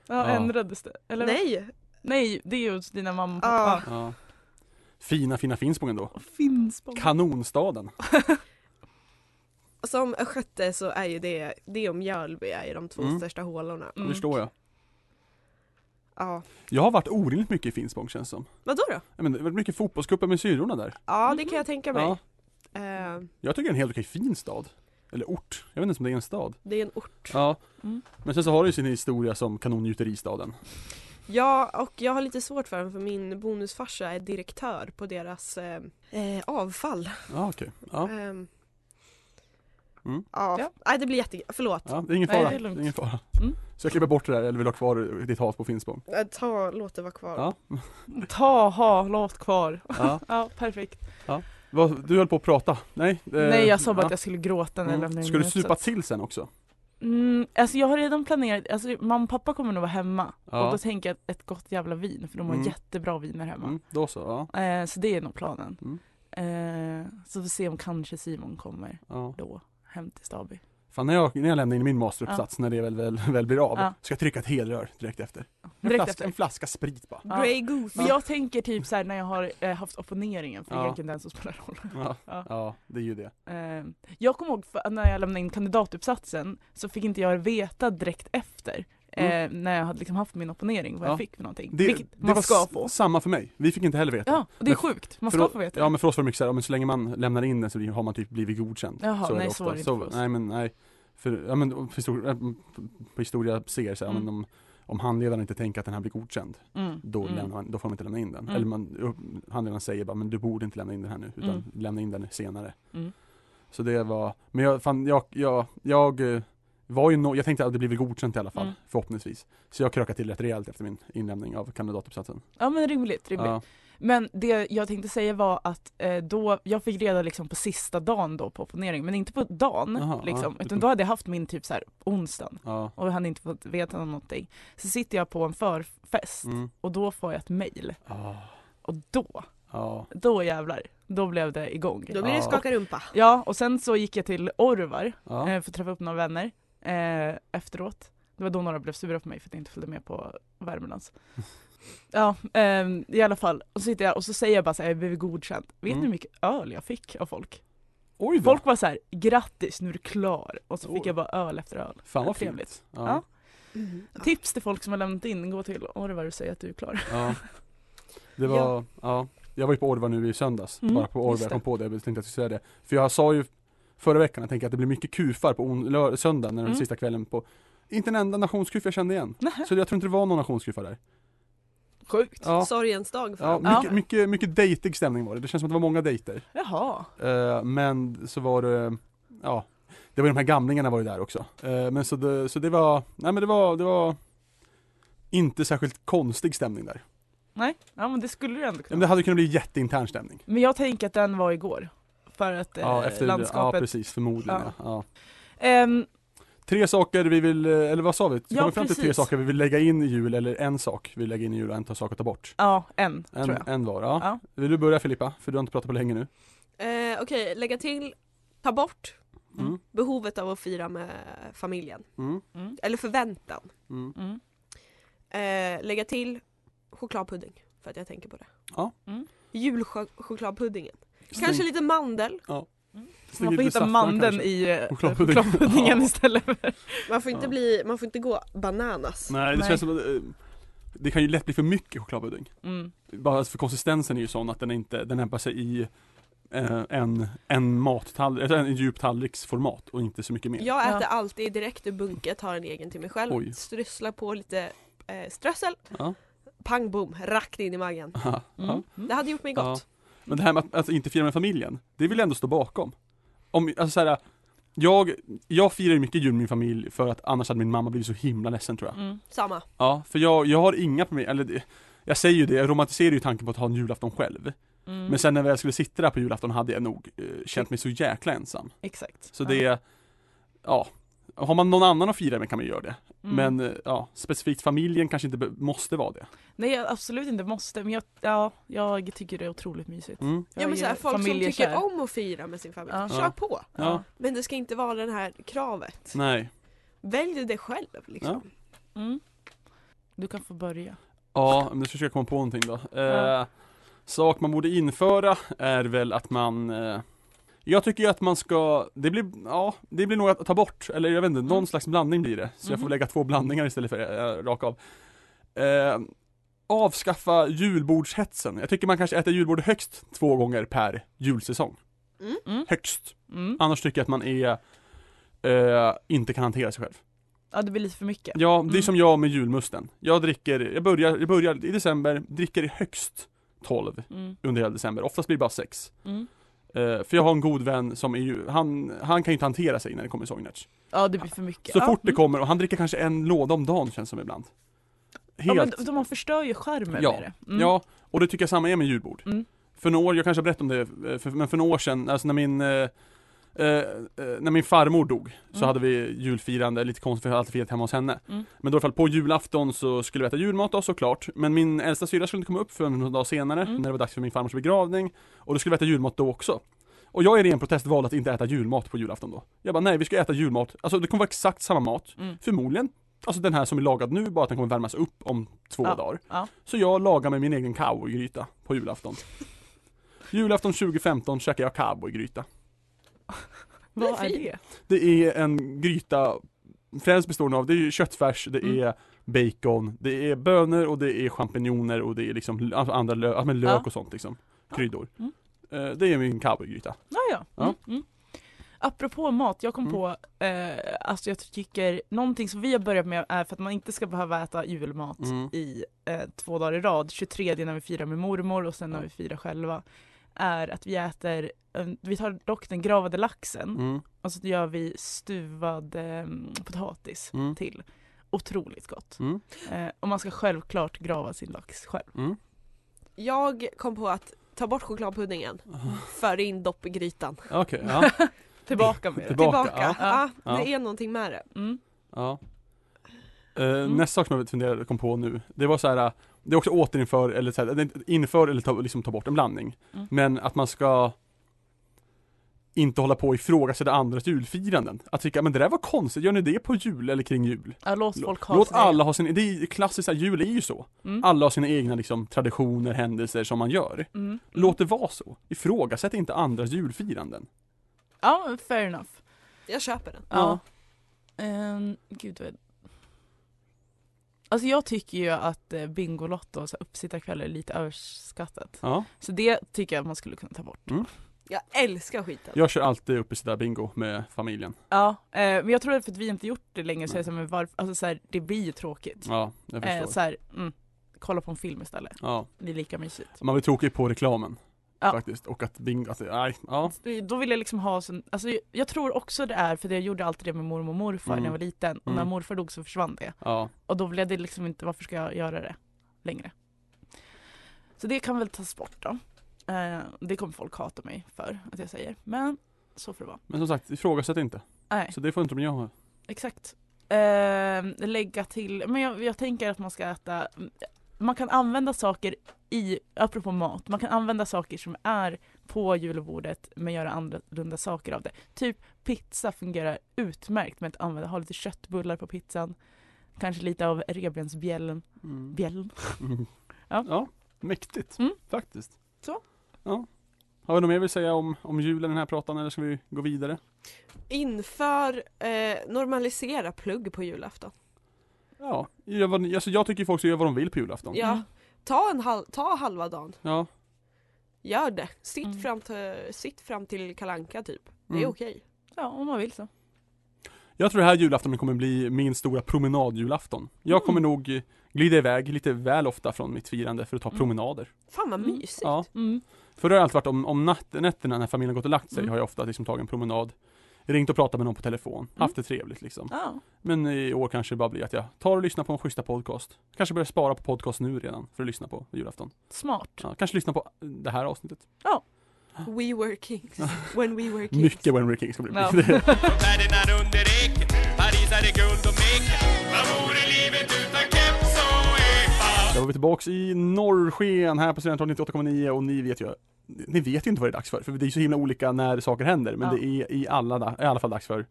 F: Ja,
C: Ja.
F: ändrades det? Eller vad?
E: Nej!
F: Nej, det är ju hos dina mamma och
E: Ja.
F: pappa.
C: ja. Fina, fina Finspång ändå.
F: Och Finspång.
C: Kanonstaden.
E: Som östgöte så är ju det, det och Mjölby är ju de två
C: Mm.
E: största hålorna.
C: Det förstår jag.
E: Ja.
C: Jag har varit orimligt mycket i Finspång känns det som.
E: Vadå då?
C: Jag men, det har varit mycket fotbollscuper med syrorna där.
E: Ja det kan jag tänka mig.
C: Mhm. Ja,
E: Eh,
C: jag tycker det är en helt okej fin stad. Eller ort. Jag vet inte ens om det är en stad.
E: det är en ort.
C: Ja.
F: Mm.
C: Men sen så har det ju sin historia som kanongjuteristaden.
E: Ja och jag har lite svårt för den för min bonusfarsa är direktör på deras eh, eh, avfall.
C: Ja okej. Ja.
E: Ehm,
C: Mm.
E: Ja.
F: Ja.
E: Nej det blir jätte... Förlåt.
C: ja, det är ingen
F: Nej,
C: fara.
F: det är lugnt.
C: ingen fara.
F: Mm.
C: Så jag klipper bort det där eller vill ha kvar ditt hat på Finspång.
E: Eh, Ta, låt det vara kvar.
C: Ja.
F: Ta, ha, låt kvar.
C: ja.
F: Ja, perfekt.
C: Vad- Du höll på att prata. Nej. eh,
F: Nej, jag sa bara
C: ja.
F: att jag skulle gråta när jag lämnade
C: Mm.
F: in
C: Ska du
F: min
C: supa
F: uppsats.
C: till sen också?
F: Mm, alltså jag har redan planerat, alltså mamma och pappa kommer nog vara hemma.
C: Ja.
F: Och då tänker jag att ett gott jävla vin, för de har
C: Mm.
F: jättebra viner hemma.
C: Mm, då så, ja.
F: Eh, så det är nog planen.
C: Mm.
F: Eh, så vi får se om kanske Simon kommer
C: ja.
F: då hem till Staby.
C: Fan när jag, när jag lämnar in min masteruppsats, när det väl, väl, väl blir av,
F: Ja.
C: ska jag trycka ett helrör direkt efter. En,
F: Direkt
C: flaska,
F: efter.
C: en flaska sprit bara.
F: Ja.
E: Grey Goose.
F: Men jag tänker typ såhär när jag har eh, haft opponeringen, för
C: Ja.
F: det är inte den som spelar roll.
C: Ja.
F: Ja.
C: ja, det är ju det.
F: Eh, jag kommer ihåg för, när jag lämnade in kandidatuppsatsen så fick inte jag veta direkt efter eh, när jag hade liksom haft min opponering
C: Mm.
F: vad
C: Ja.
F: jag fick för någonting.
C: Det,
F: vilket
C: det
F: man
C: var
F: ska
C: s-
F: få.
C: samma för mig, vi fick inte heller veta.
F: Ja, och det är
C: Men-
F: sjukt. Man
C: För
F: ska
C: då-
F: få veta
C: Ja
F: det.
C: men för oss var det mycket såhär, ja, men så länge man lämnar in den så blir- har man typ blivit godkänd.
F: Jaha,
C: så är
F: nej,
C: ofta.
F: så var det inte för oss.
C: Nej men nej. För, ja men på historia, på historia ser så här, ja, men
F: Mm.
C: om, om handledaren inte tänker att den här blir godkänd,
F: Mm,
C: då,
F: mm.
C: lämnar man, då får man inte lämna in den.
F: Mm.
C: Eller man, upp- handledaren säger bara, men du borde inte lämna in den här nu, utan
F: Mm.
C: lämna in den senare.
F: Mm.
C: Så det var, men jag fan, jag, jag, jag eh, var ju no, jag tänkte att det blir väl godkänt i alla fall,
F: Mm.
C: förhoppningsvis. Så jag krökade till rätt rejält efter min inlämning av kandidatuppsatsen.
F: Ja men rimligt, rimligt.
C: Ja,
F: Men det jag tänkte säga var att eh, då, jag fick reda liksom på sista dagen då på opponeringen, men inte på dagen
C: Aha,
F: liksom,
C: ja.
F: utan då hade jag haft min typ så här onsdagen
C: ja,
F: och jag hade inte fått veta någonting. Så sitter jag på en förfest
C: mm.
F: och då får jag ett mail
C: ah,
F: och då,
C: ja.
F: då jävlar, då blev det igång.
E: Då blir det
C: Ja.
E: skaka rumpa.
F: Ja och sen så gick jag till Orvar
C: ja.
F: eh, för att träffa upp några vänner eh, efteråt. Det var då några blev sura på mig för att jag inte följde med på Värmlands. Ja, ehm, i alla fall. Och så sitter jag och så säger jag bara så här, jag blev godkänd. Vet ni
C: Mm.
F: hur mycket öl jag fick av folk?
C: Oj då!
F: Folk var så här, grattis nu är du klar. Och så fick
C: Oj.
F: jag bara öl efter öl.
C: Fan vad
F: Trevligt.
C: fint. Ja.
F: Ja.
E: Mm.
F: Tips till folk som har lämnat in, gå till Orvar och säg att du är klar.
C: Ja. Det var, ja. Jag var ju på Orvar nu i söndags,
F: Mm,
C: bara på Orvar,
F: just
C: jag
F: det.
C: kom på det, jag tänkte att jag skulle säga det. För jag sa ju förra veckan, jag tänker att det blir mycket kufar på on- lör- söndag, när den
F: Mm.
C: sista kvällen på inte en enda nationskuf jag kände igen.
F: Nähä.
C: Så jag tror inte det var någon nationskufa där.
F: Sjukt.
C: Ja,
E: Sorgens dag för
C: ja,
E: dem.
C: mycket,
F: Ja.
C: mycket, mycket dejtig stämning var det. Det känns som att det var många dejter.
F: Jaha.
C: Eh, men så var det, ja, det var ju de här gamlingarna var ju där också. Eh, men så det, så det var, nej men det var, det var inte särskilt konstig stämning där.
F: Nej, ja men det skulle du ändå
C: Men det
F: kunna.
C: hade kunnat bli jätteintern stämning.
F: Men jag tänker att den var igår. För att eh,
C: Ja, efter, ja
F: landskapet
C: precis, förmodligen ja.
F: Ja.
C: Ja.
F: Ehm,
C: Tre saker vi vill, eh, eller vad sa vi? Vi
F: Ja,
C: kom fram till tre
F: precis.
C: saker vi vill lägga in i jul, eller en sak vi vill lägga in i jul och en ta- sak att ta bort.
F: ja, en,
C: En,
F: tror jag.
C: en var, ja.
F: Ja.
C: Vill du börja Filippa? För du har inte pratat på länge nu.
E: Eh, Okej, lägga till, ta bort
C: Mm.
E: behovet av att fira med familjen.
C: Mm.
F: Mm.
E: Eller förväntan.
C: Mm.
F: Mm.
E: Eh, lägga till chokladpudding, för att jag tänker på det.
C: Ja. Mm.
F: Mm.
E: Julchokladpuddingen.
C: Stäng-
E: Kanske lite mandel.
C: stäng
F: Man får
C: lite
F: hitta
C: saffran
F: mandeln
C: kanske.
F: i eh,
C: Chokladpudding.
F: chokladpuddingen
C: Ja.
F: istället. för-
E: Man får inte,
C: Ja.
E: bli, man får inte gå bananas.
C: Nej, det
F: Nej.
C: känns som att eh, det kan ju lätt bli för mycket chokladpudding.
F: Mm.
C: Bara alltså, för konsistensen är ju sån att den är inte, den lämpar sig i eh, en, en mattallrik, alltså en djup tallriksformat och inte så mycket mer.
E: Jag
F: Ja.
E: äter alltid direkt ur bunke, tar en egen till mig själv,
C: Oj.
E: strösslar på lite eh, strössel,
C: Ja.
E: pang bom, rakt in i magen.
C: Ja.
F: Mm.
E: Det hade gjort mig gott.
C: Men det här med att, att inte fira med familjen, det vill jag ändå stå bakom. Om, alltså så här, jag, jag firar ju mycket jul med min familj för att annars hade min mamma blivit så himla ledsen tror jag.
F: Mm.
E: Samma.
C: Ja, för jag, jag har inga problem, eller det- jag säger ju det, jag romantiserar ju tanken på att ha en julafton själv.
F: Mm.
C: Men sen när jag väl skulle sitta där på julafton hade jag nog eh, känt mig så jäkla ensam.
F: Exakt.
C: Så det, ja. Har man någon annan att fira med kan man ju göra det.
F: Mm.
C: Men eh, ja, specifikt familjen kanske inte be- måste vara det.
F: Nej, jag absolut inte måste, men jag, ja, jag tycker det är otroligt mysigt.
C: Mm.
F: Jag
E: Ja, men så här,
F: är
E: folk som tycker
F: familjekär.
E: om att fira med sin familj,
F: Ja.
E: kör
C: Ja.
E: på!
C: Ja.
E: Men det ska inte vara det här kravet.
C: Nej.
E: Välj det själv liksom.
F: Mm. Du kan få börja.
C: Ja, men nu ska jag försöka komma på någonting då. Eh,
F: Ja.
C: Sak man borde införa är väl att man eh, Jag tycker ju att man ska, det blir, ja, det blir nog att ta bort, eller jag vet inte, någon
F: Mm.
C: slags blandning blir det. Så jag får
F: Mhm.
C: lägga två blandningar istället för eh, rakt av. Eh, avskaffa julbordshetsen. Jag tycker man kanske äter julbord högst två gånger per julsäsong.
F: Mm.
C: Högst.
F: Mm.
C: Annars tycker jag att man är eh, inte kan hantera sig själv.
F: Ja, det blir lite för mycket.
C: Ja, det är
F: Mm.
C: som jag med julmusten. Jag dricker, jag börjar, jag börjar i december, dricker i högst 12
F: Mm.
C: under hela december. Oftast blir det bara 6.
F: Mm.
C: för jag har en god vän som är ju, han, han kan ju inte hantera sig när det kommer sojnerts.
F: Ja, det blir för mycket.
C: Så
F: ja.
C: fort det
F: Mm.
C: kommer, och han dricker kanske en låda om dagen känns som ibland.
F: Ja, men
C: Helt,
F: de, de förstör ju charmen
C: Ja.
F: med det. Mm.
C: ja, och det tycker jag samma är med julbord.
F: Mm.
C: För några år, jag kanske har berättat om det, eh, för, men för några år sedan, alltså när min eh, eh, eh, när min farmor dog så
F: Mm.
C: hade vi julfirande, lite konstigt för jag hade alltid firat hemma hos henne.
F: Mm.
C: Men då i alla fall på julafton så skulle vi äta julmat då såklart. Men min äldsta syrra skulle inte komma upp förrän några dagar senare
F: Mm.
C: när det var dags för min farmors begravning. Och då skulle vi äta julmat då också. Och jag i ren protest valde att inte äta julmat på julafton då. Jag bara nej vi ska äta julmat, alltså det kommer vara exakt samma mat.
F: Mm.
C: Förmodligen, alltså den här som är lagad nu bara att den kommer värmas upp om två
F: Ja.
C: dagar.
F: Ja.
C: Så jag lagar mig min egen cowboygryta på julafton. Julafton 2015 käkar jag cowboygryta.
F: Vad
E: Det är
F: är
E: fint.
F: det?
C: Det är en gryta Främst består den av, det är ju köttfärs, det
F: Mm.
C: är bacon, det är bönor och det är champinjoner och det är liksom l- alltså andra lö- alltså med lök
F: Ja.
C: och sånt liksom
F: Ja.
C: Kryddor
F: Mm.
C: Eh, Det är min cowboygryta
F: Ja, ja. Mm, mm. Apropå mat, jag kom
C: Mm.
F: på, eh, alltså jag tycker någonting som vi har börjat med är för att man inte ska behöva äta julmat
C: Mm.
F: i eh, två dagar i rad, 23 när vi firar med mormor och sen när
C: Ja.
F: vi firar själva, är att vi äter, eh, vi tar dock den gravade laxen
C: mm.
F: och så gör vi stuvad eh, potatis
C: Mm.
F: till. Otroligt gott.
C: Mm.
F: Eh, och man ska självklart grava sin lax själv.
C: Mm.
E: Jag kom på att ta bort chokladpuddingen, för in dopp i grytan.
C: Okej, ja,
F: Tillbaka med det.
C: Tillbaka,
E: Tillbaka. Ja.
F: ja.
E: Det är någonting med det.
F: Mm.
C: ja. Eh, Nästa sak som jag funderade, kom på nu, det var så här. eh, Det är också återinför eller så här, det är inte- inför eller ta, liksom ta bort en blandning
F: Mm.
C: Men att man ska inte hålla på och ifrågasätta andras julfiranden. Att tycka, men det där var konstigt, gör ni det på jul eller kring jul?
F: Ja, låt Alltså, folk ha
C: Låt
F: sina egna.
C: alla ha sin, det är ju klassiskt, så här, jul är ju så.
F: Mm.
C: Alla har sina egna liksom, traditioner, händelser som man gör.
F: Mm.
C: Låt det vara så. Ifrågasätt inte andras julfiranden.
F: Ja, fair enough.
E: Jag köper den.
F: Ja. Ehm, gud vad... Alltså jag tycker ju att eh, Bingolotto, så här uppsittarkvällar, är lite överskattat.
C: Ja.
F: Så det tycker jag att man skulle kunna ta bort.
C: Mm.
E: Jag älskar skiten.
C: Jag kör alltid upp i sådär bingo med familjen.
F: Ja, eh, men jag tror att för att vi inte gjort det länge så är det så här, men varför, alltså så här, det blir ju tråkigt.
C: Ja, jag förstår.
F: Eh, så här, mm, kolla på en film istället,
C: Ja.
F: det är lika mysigt.
C: Man blir tråkig på reklamen.
F: Ja.
C: Faktiskt. Och att bingo, att, nej, ja.
F: Det- Då vill jag liksom ha, sån, alltså jag- jag tror också det är, för jag gjorde alltid det med mormor och morfar
C: Mm.
F: när jag var liten, och när
C: Mm.
F: morfar dog så försvann det.
C: Ja.
F: Och då blev det liksom inte, varför ska jag göra det längre? Så det kan väl tas bort då. Eh, det kommer folk hata mig för att jag säger. Men så får det vara.
C: Men som sagt, ifrågasätt inte.
F: Nej,
C: Så det får inte de göra.
F: exakt. Eh, lägga till, men jag, jag tänker att man ska äta, man kan använda saker i, apropå mat, man kan använda saker som är på julbordet men göra annorlunda saker av det. Typ pizza fungerar utmärkt med att använda, ha lite köttbullar på pizzan, kanske lite av revbensbjällen,
C: Mm.
F: bjällen.
C: Mm.
F: Ja.
C: mäktigt.
F: Mm.
C: Faktiskt.
F: Så.
C: Ja. Har vi något mer vi säga om, om julen i den här pratan eller ska vi gå vidare?
E: Inför, eh, normalisera plugg på julafton.
C: Ja, gör vad, ni- alltså jag tycker folk ska göra vad de vill på julafton.
E: Ja. Ta, en hal- ta halva dagen,
C: Ja.
E: gör det. Sitt,
F: Mm.
E: fram, till, sitt fram till kalanka typ. Det är
C: Mm.
E: okej.
F: Ja, om man vill så.
C: Jag tror det här julafton kommer bli min stora promenadjulafton. Jag kommer
F: Mm.
C: nog glida iväg lite väl ofta från mitt firande för att ta
F: Mm.
C: promenader.
E: Fan vad
F: Mm.
E: mysigt.
C: Ja.
F: Mm.
C: För det har alltid varit om, om natt, nätterna när familjen har gått och lagt sig
F: Mm.
C: har jag ofta liksom tagit en promenad Ringt och pratat med någon på telefon,
F: Mm.
C: haft det trevligt liksom.
F: Ja.
C: Men i år kanske det bara blir att jag tar och lyssnar på en schyssta podcast. Kanske börjar spara på podcast nu redan för att lyssna på julafton.
F: Smart.
C: Ja, kanske lyssna på eh, det här avsnittet.
E: We were kings. When we were kings.
C: Mycket When We're Kings kommer det bli.
F: Ja.
B: Färgerna under eken Paris är det guld och meken Vad vore livet utan keps och epa?
C: Där var vi tillbaks i norrsken här på Studentradion 98,9 och ni vet ju Ni vet ju inte vad det är dags för, för det är så himla olika när saker händer men
F: Ja.
C: det är i, alla, da- i alla fall dags för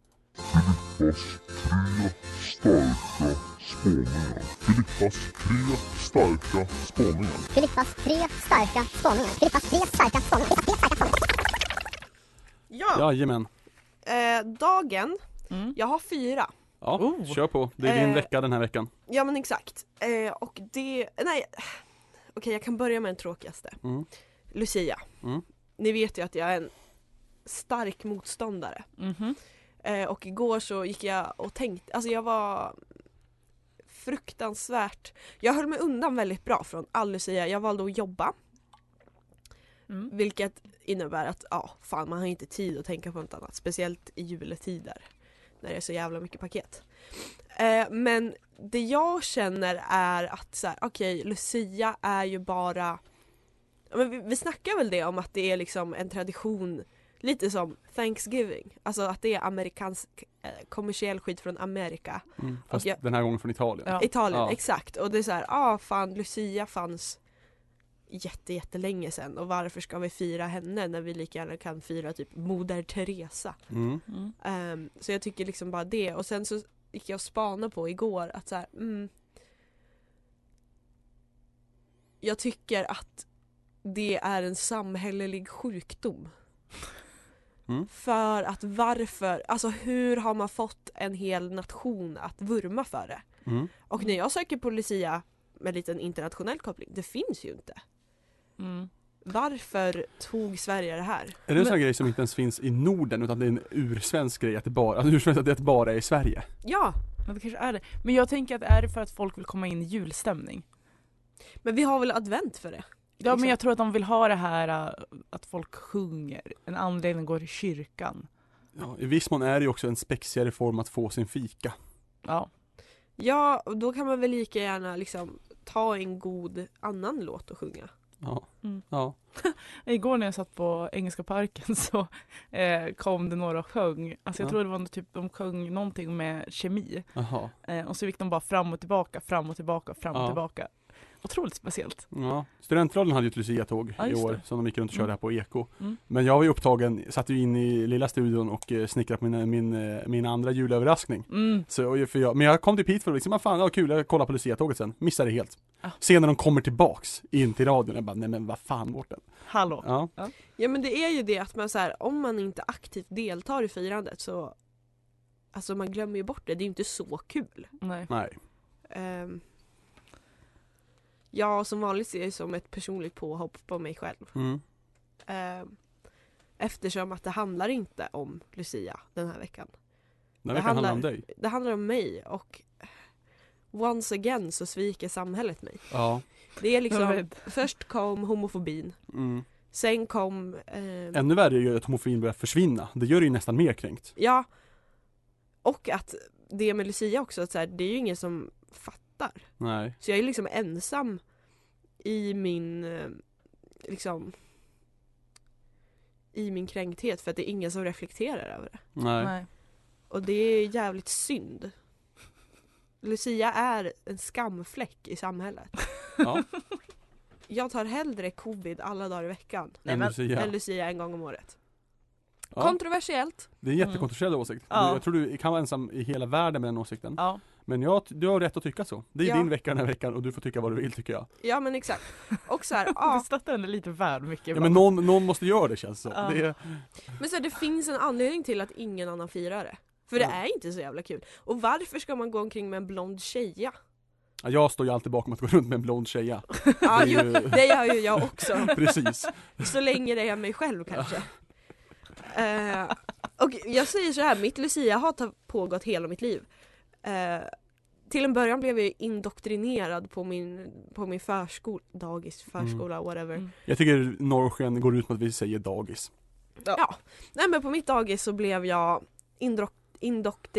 G: Filippas tre starka spaningar. Filippas tre starka spaningar.
H: Filippas tre starka spaningar. Filippas tre starka spaningar.
E: Ja,
C: Jajamän
E: Eh, dagen.
F: Mm.
E: Jag har fyra.
C: Ja,
F: Oh.
C: kör på. Det är din
E: Eh.
C: vecka den här veckan.
E: Ja men exakt. Eh, och det, nej. Okej jag kan börja med den tråkigaste.
C: Mm.
E: Lucia.
C: Mm.
E: Ni vet ju att jag är en stark motståndare.
F: Mhm.
E: Eh, och igår så gick jag och tänkte, alltså jag var fruktansvärt, jag höll mig undan väldigt bra från all Lucia. Jag valde att jobba,
F: Mm.
E: vilket innebär att ja, fan man har inte tid att tänka på något annat. Speciellt i juletider när det är så jävla mycket paket. Eh, men det jag känner är att så här, okej Lucia är ju bara, ja, men vi, vi snackar väl det om att det är liksom en tradition Lite som Thanksgiving, alltså att det är amerikansk eh, kommersiell skit från Amerika.
C: Mm. Fast
E: jag-
C: den här gången från Italien.
F: Ja.
E: Italien,
C: Ja.
E: exakt. Och det är så här, ah fan Lucia fanns jätte, jättelänge sedan och varför ska vi fira henne när vi lika gärna kan fira typ Moder Teresa?
C: Mm.
F: Mm.
E: Ehm, så jag tycker liksom bara det och sen så gick jag och spanade på igår att så här, mm, Jag tycker att det är en samhällelig sjukdom.
C: Mm.
E: För att varför, alltså hur har man fått en hel nation att vurma för det?
C: Mm.
E: Och när jag söker på Lucia med lite en internationell koppling, det finns ju inte.
F: Mm.
E: Varför tog Sverige det här?
C: Är det en sån här grej som inte ens finns i Norden utan det är en ursvensk grej att det bara, alltså ursvensk att det bara är i Sverige?
E: Ja,
F: Men det kanske är det. Men jag tänker att är det för att folk vill komma in i julstämning?
E: men vi har väl advent för det?
F: Ja
E: Liksom.
F: men jag tror att de vill ha det här äh, att folk sjunger, en anledning att gå till kyrkan.
C: Ja, I viss mån är det ju också en spexigare form att få sin fika.
F: Ja.
E: Ja, och då kan man väl lika gärna liksom ta en god annan låt och sjunga.
C: Ja.
F: Mm.
C: ja.
F: Igår när jag satt på Engelska parken så eh, kom det några och sjöng. Alltså jag
C: Ja.
F: tror det var något typ, de sjöng någonting med kemi.
C: Jaha.
F: Eh, och så gick de bara fram och tillbaka, fram och tillbaka, fram och
C: Ja.
F: tillbaka. Otroligt speciellt.
C: Ja. Studentradion hade ju ett Lucia-tåg
F: Ja,
C: i
F: just
C: år
F: det.
C: som de gick runt och körde
F: Mm.
C: här på Eko.
F: Mm.
C: Men jag var ju upptagen, satt ju in i lilla studion och eh, snickrade på min, min, eh, min andra julöverraskning.
F: Mm.
C: Så, och ju- för jag, men jag kom till Piteå för att liksom, vad fan, ja, kul, jag kollar på Lucia-tåget sen. Missade det helt.
F: Ah.
C: Sen när de kommer tillbaks in till radion, jag bara, nej men vad fan Mårten.
F: Hallå.
C: Ja.
E: Ja men det är ju det att man så här, om man inte aktivt deltar i firandet så Alltså man glömmer ju bort det, det är ju inte så kul.
F: Nej.
C: Nej.
E: Ehm, ja, som vanligt ser jag det som ett personligt påhopp på mig själv.
C: Mm.
E: Ehm, eftersom att det handlar inte om Lucia den här veckan.
C: Den här
E: Det
C: veckan handlar om
E: handlar-
C: dig.
E: Det handlar om mig och once again så sviker samhället mig.
C: Ja.
E: Det är
F: Jag
E: liksom,
F: vet.
E: först kom homofobin,
C: Mm.
E: sen kom ehm,
C: Ännu värre är ju att homofobin börjar försvinna. Det gör det ju nästan mer kränkt.
E: Ja. Och att det med Lucia också, att så här, det är ju ingen som fattar.
C: Nej.
E: Så jag är liksom ensam i min, eh, liksom, i min kränkthet för att det är ingen som reflekterar över det.
C: Nej.
F: Nej.
E: Och det är jävligt synd. Lucia är en skamfläck i samhället.
C: Ja.
E: Jag tar hellre covid alla dagar i veckan
F: Nej,
C: Än
F: men-
C: Lucia.
E: än Lucia en gång om året.
C: Ja.
E: Kontroversiellt.
C: Det är en jättekontroversiell åsikt.
F: Ja.
C: Du, jag tror du kan vara ensam i hela världen med den åsikten.
F: Ja.
C: Men jag, du har rätt att tycka så. Det är
E: Ja.
C: din vecka den här veckan och du får tycka vad du vill tycker jag.
E: Ja men exakt. Och så här, ja.
F: Du stöttar henne lite väl mycket
C: Ja,
F: ibland.
C: men någon, någon måste göra det känns det som.
F: Ja.
C: Det är,
E: Men så här, det finns en anledning till att ingen annan firar det. För det
C: Mm.
E: är inte så jävla kul. Och varför ska man gå omkring med en blond tjeja?
C: Ja, jag står ju alltid bakom att gå runt med en blond tjeja.
E: Ja,
C: Det
E: jo,
C: är ju-
E: det gör ju jag också.
C: Precis.
E: Så länge det är mig själv kanske. Eh, och jag säger så här, mitt lucia har pågått hela mitt liv. Eh, till en början blev jag ju indoktrinerad på min, på min förskola, dagis, förskola, whatever.
F: Mm.
C: Jag tycker norrsken går ut på att vi säger dagis.
E: Ja. Nej men på mitt dagis så blev jag indro-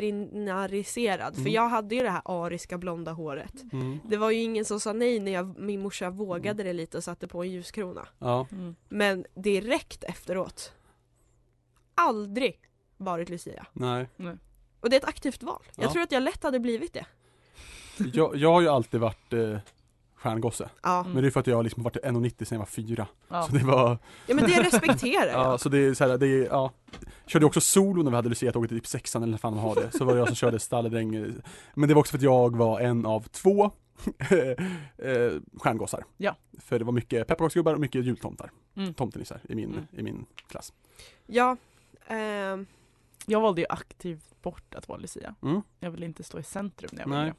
E: indoktrinariserad för
C: Mm.
E: jag hade ju det här ariska blonda håret.
C: Mm.
E: Det var ju ingen som sa nej när jag, min morsa vågade det lite och satte på en ljuskrona.
C: Ja.
F: Mm.
E: Men direkt efteråt. Aldrig varit Lucia.
C: Nej.
E: Och det är ett aktivt val. Jag
C: Ja.
E: tror att jag lätt hade blivit det.
C: Jag, jag har ju alltid varit eh, stjärngosse.
E: Ja,
F: Mm.
C: Men det är för att jag har liksom varit 1,90 sedan jag var fyra.
F: Ja.
C: Så det var
E: ja men det respekterar jag.
C: Ja, så det är så här, det är, ja. Körde också solo när vi hade Lucia-tåget i typ sexan eller vad fan de har det. Så var det jag som körde stalledräng. eh, Men det var också för att jag var en av två eh, stjärngossar.
F: Ja.
C: För det var mycket pepparkaksgubbar och mycket jultomtar.
F: Mm.
C: Tomtenissar i min,
F: Mm.
C: i min klass.
E: Ja, ehm,
F: Jag valde ju aktivt bort att vara Lucia.
C: Mm.
F: Jag ville inte stå i centrum när jag var
C: Nej.
F: yngre.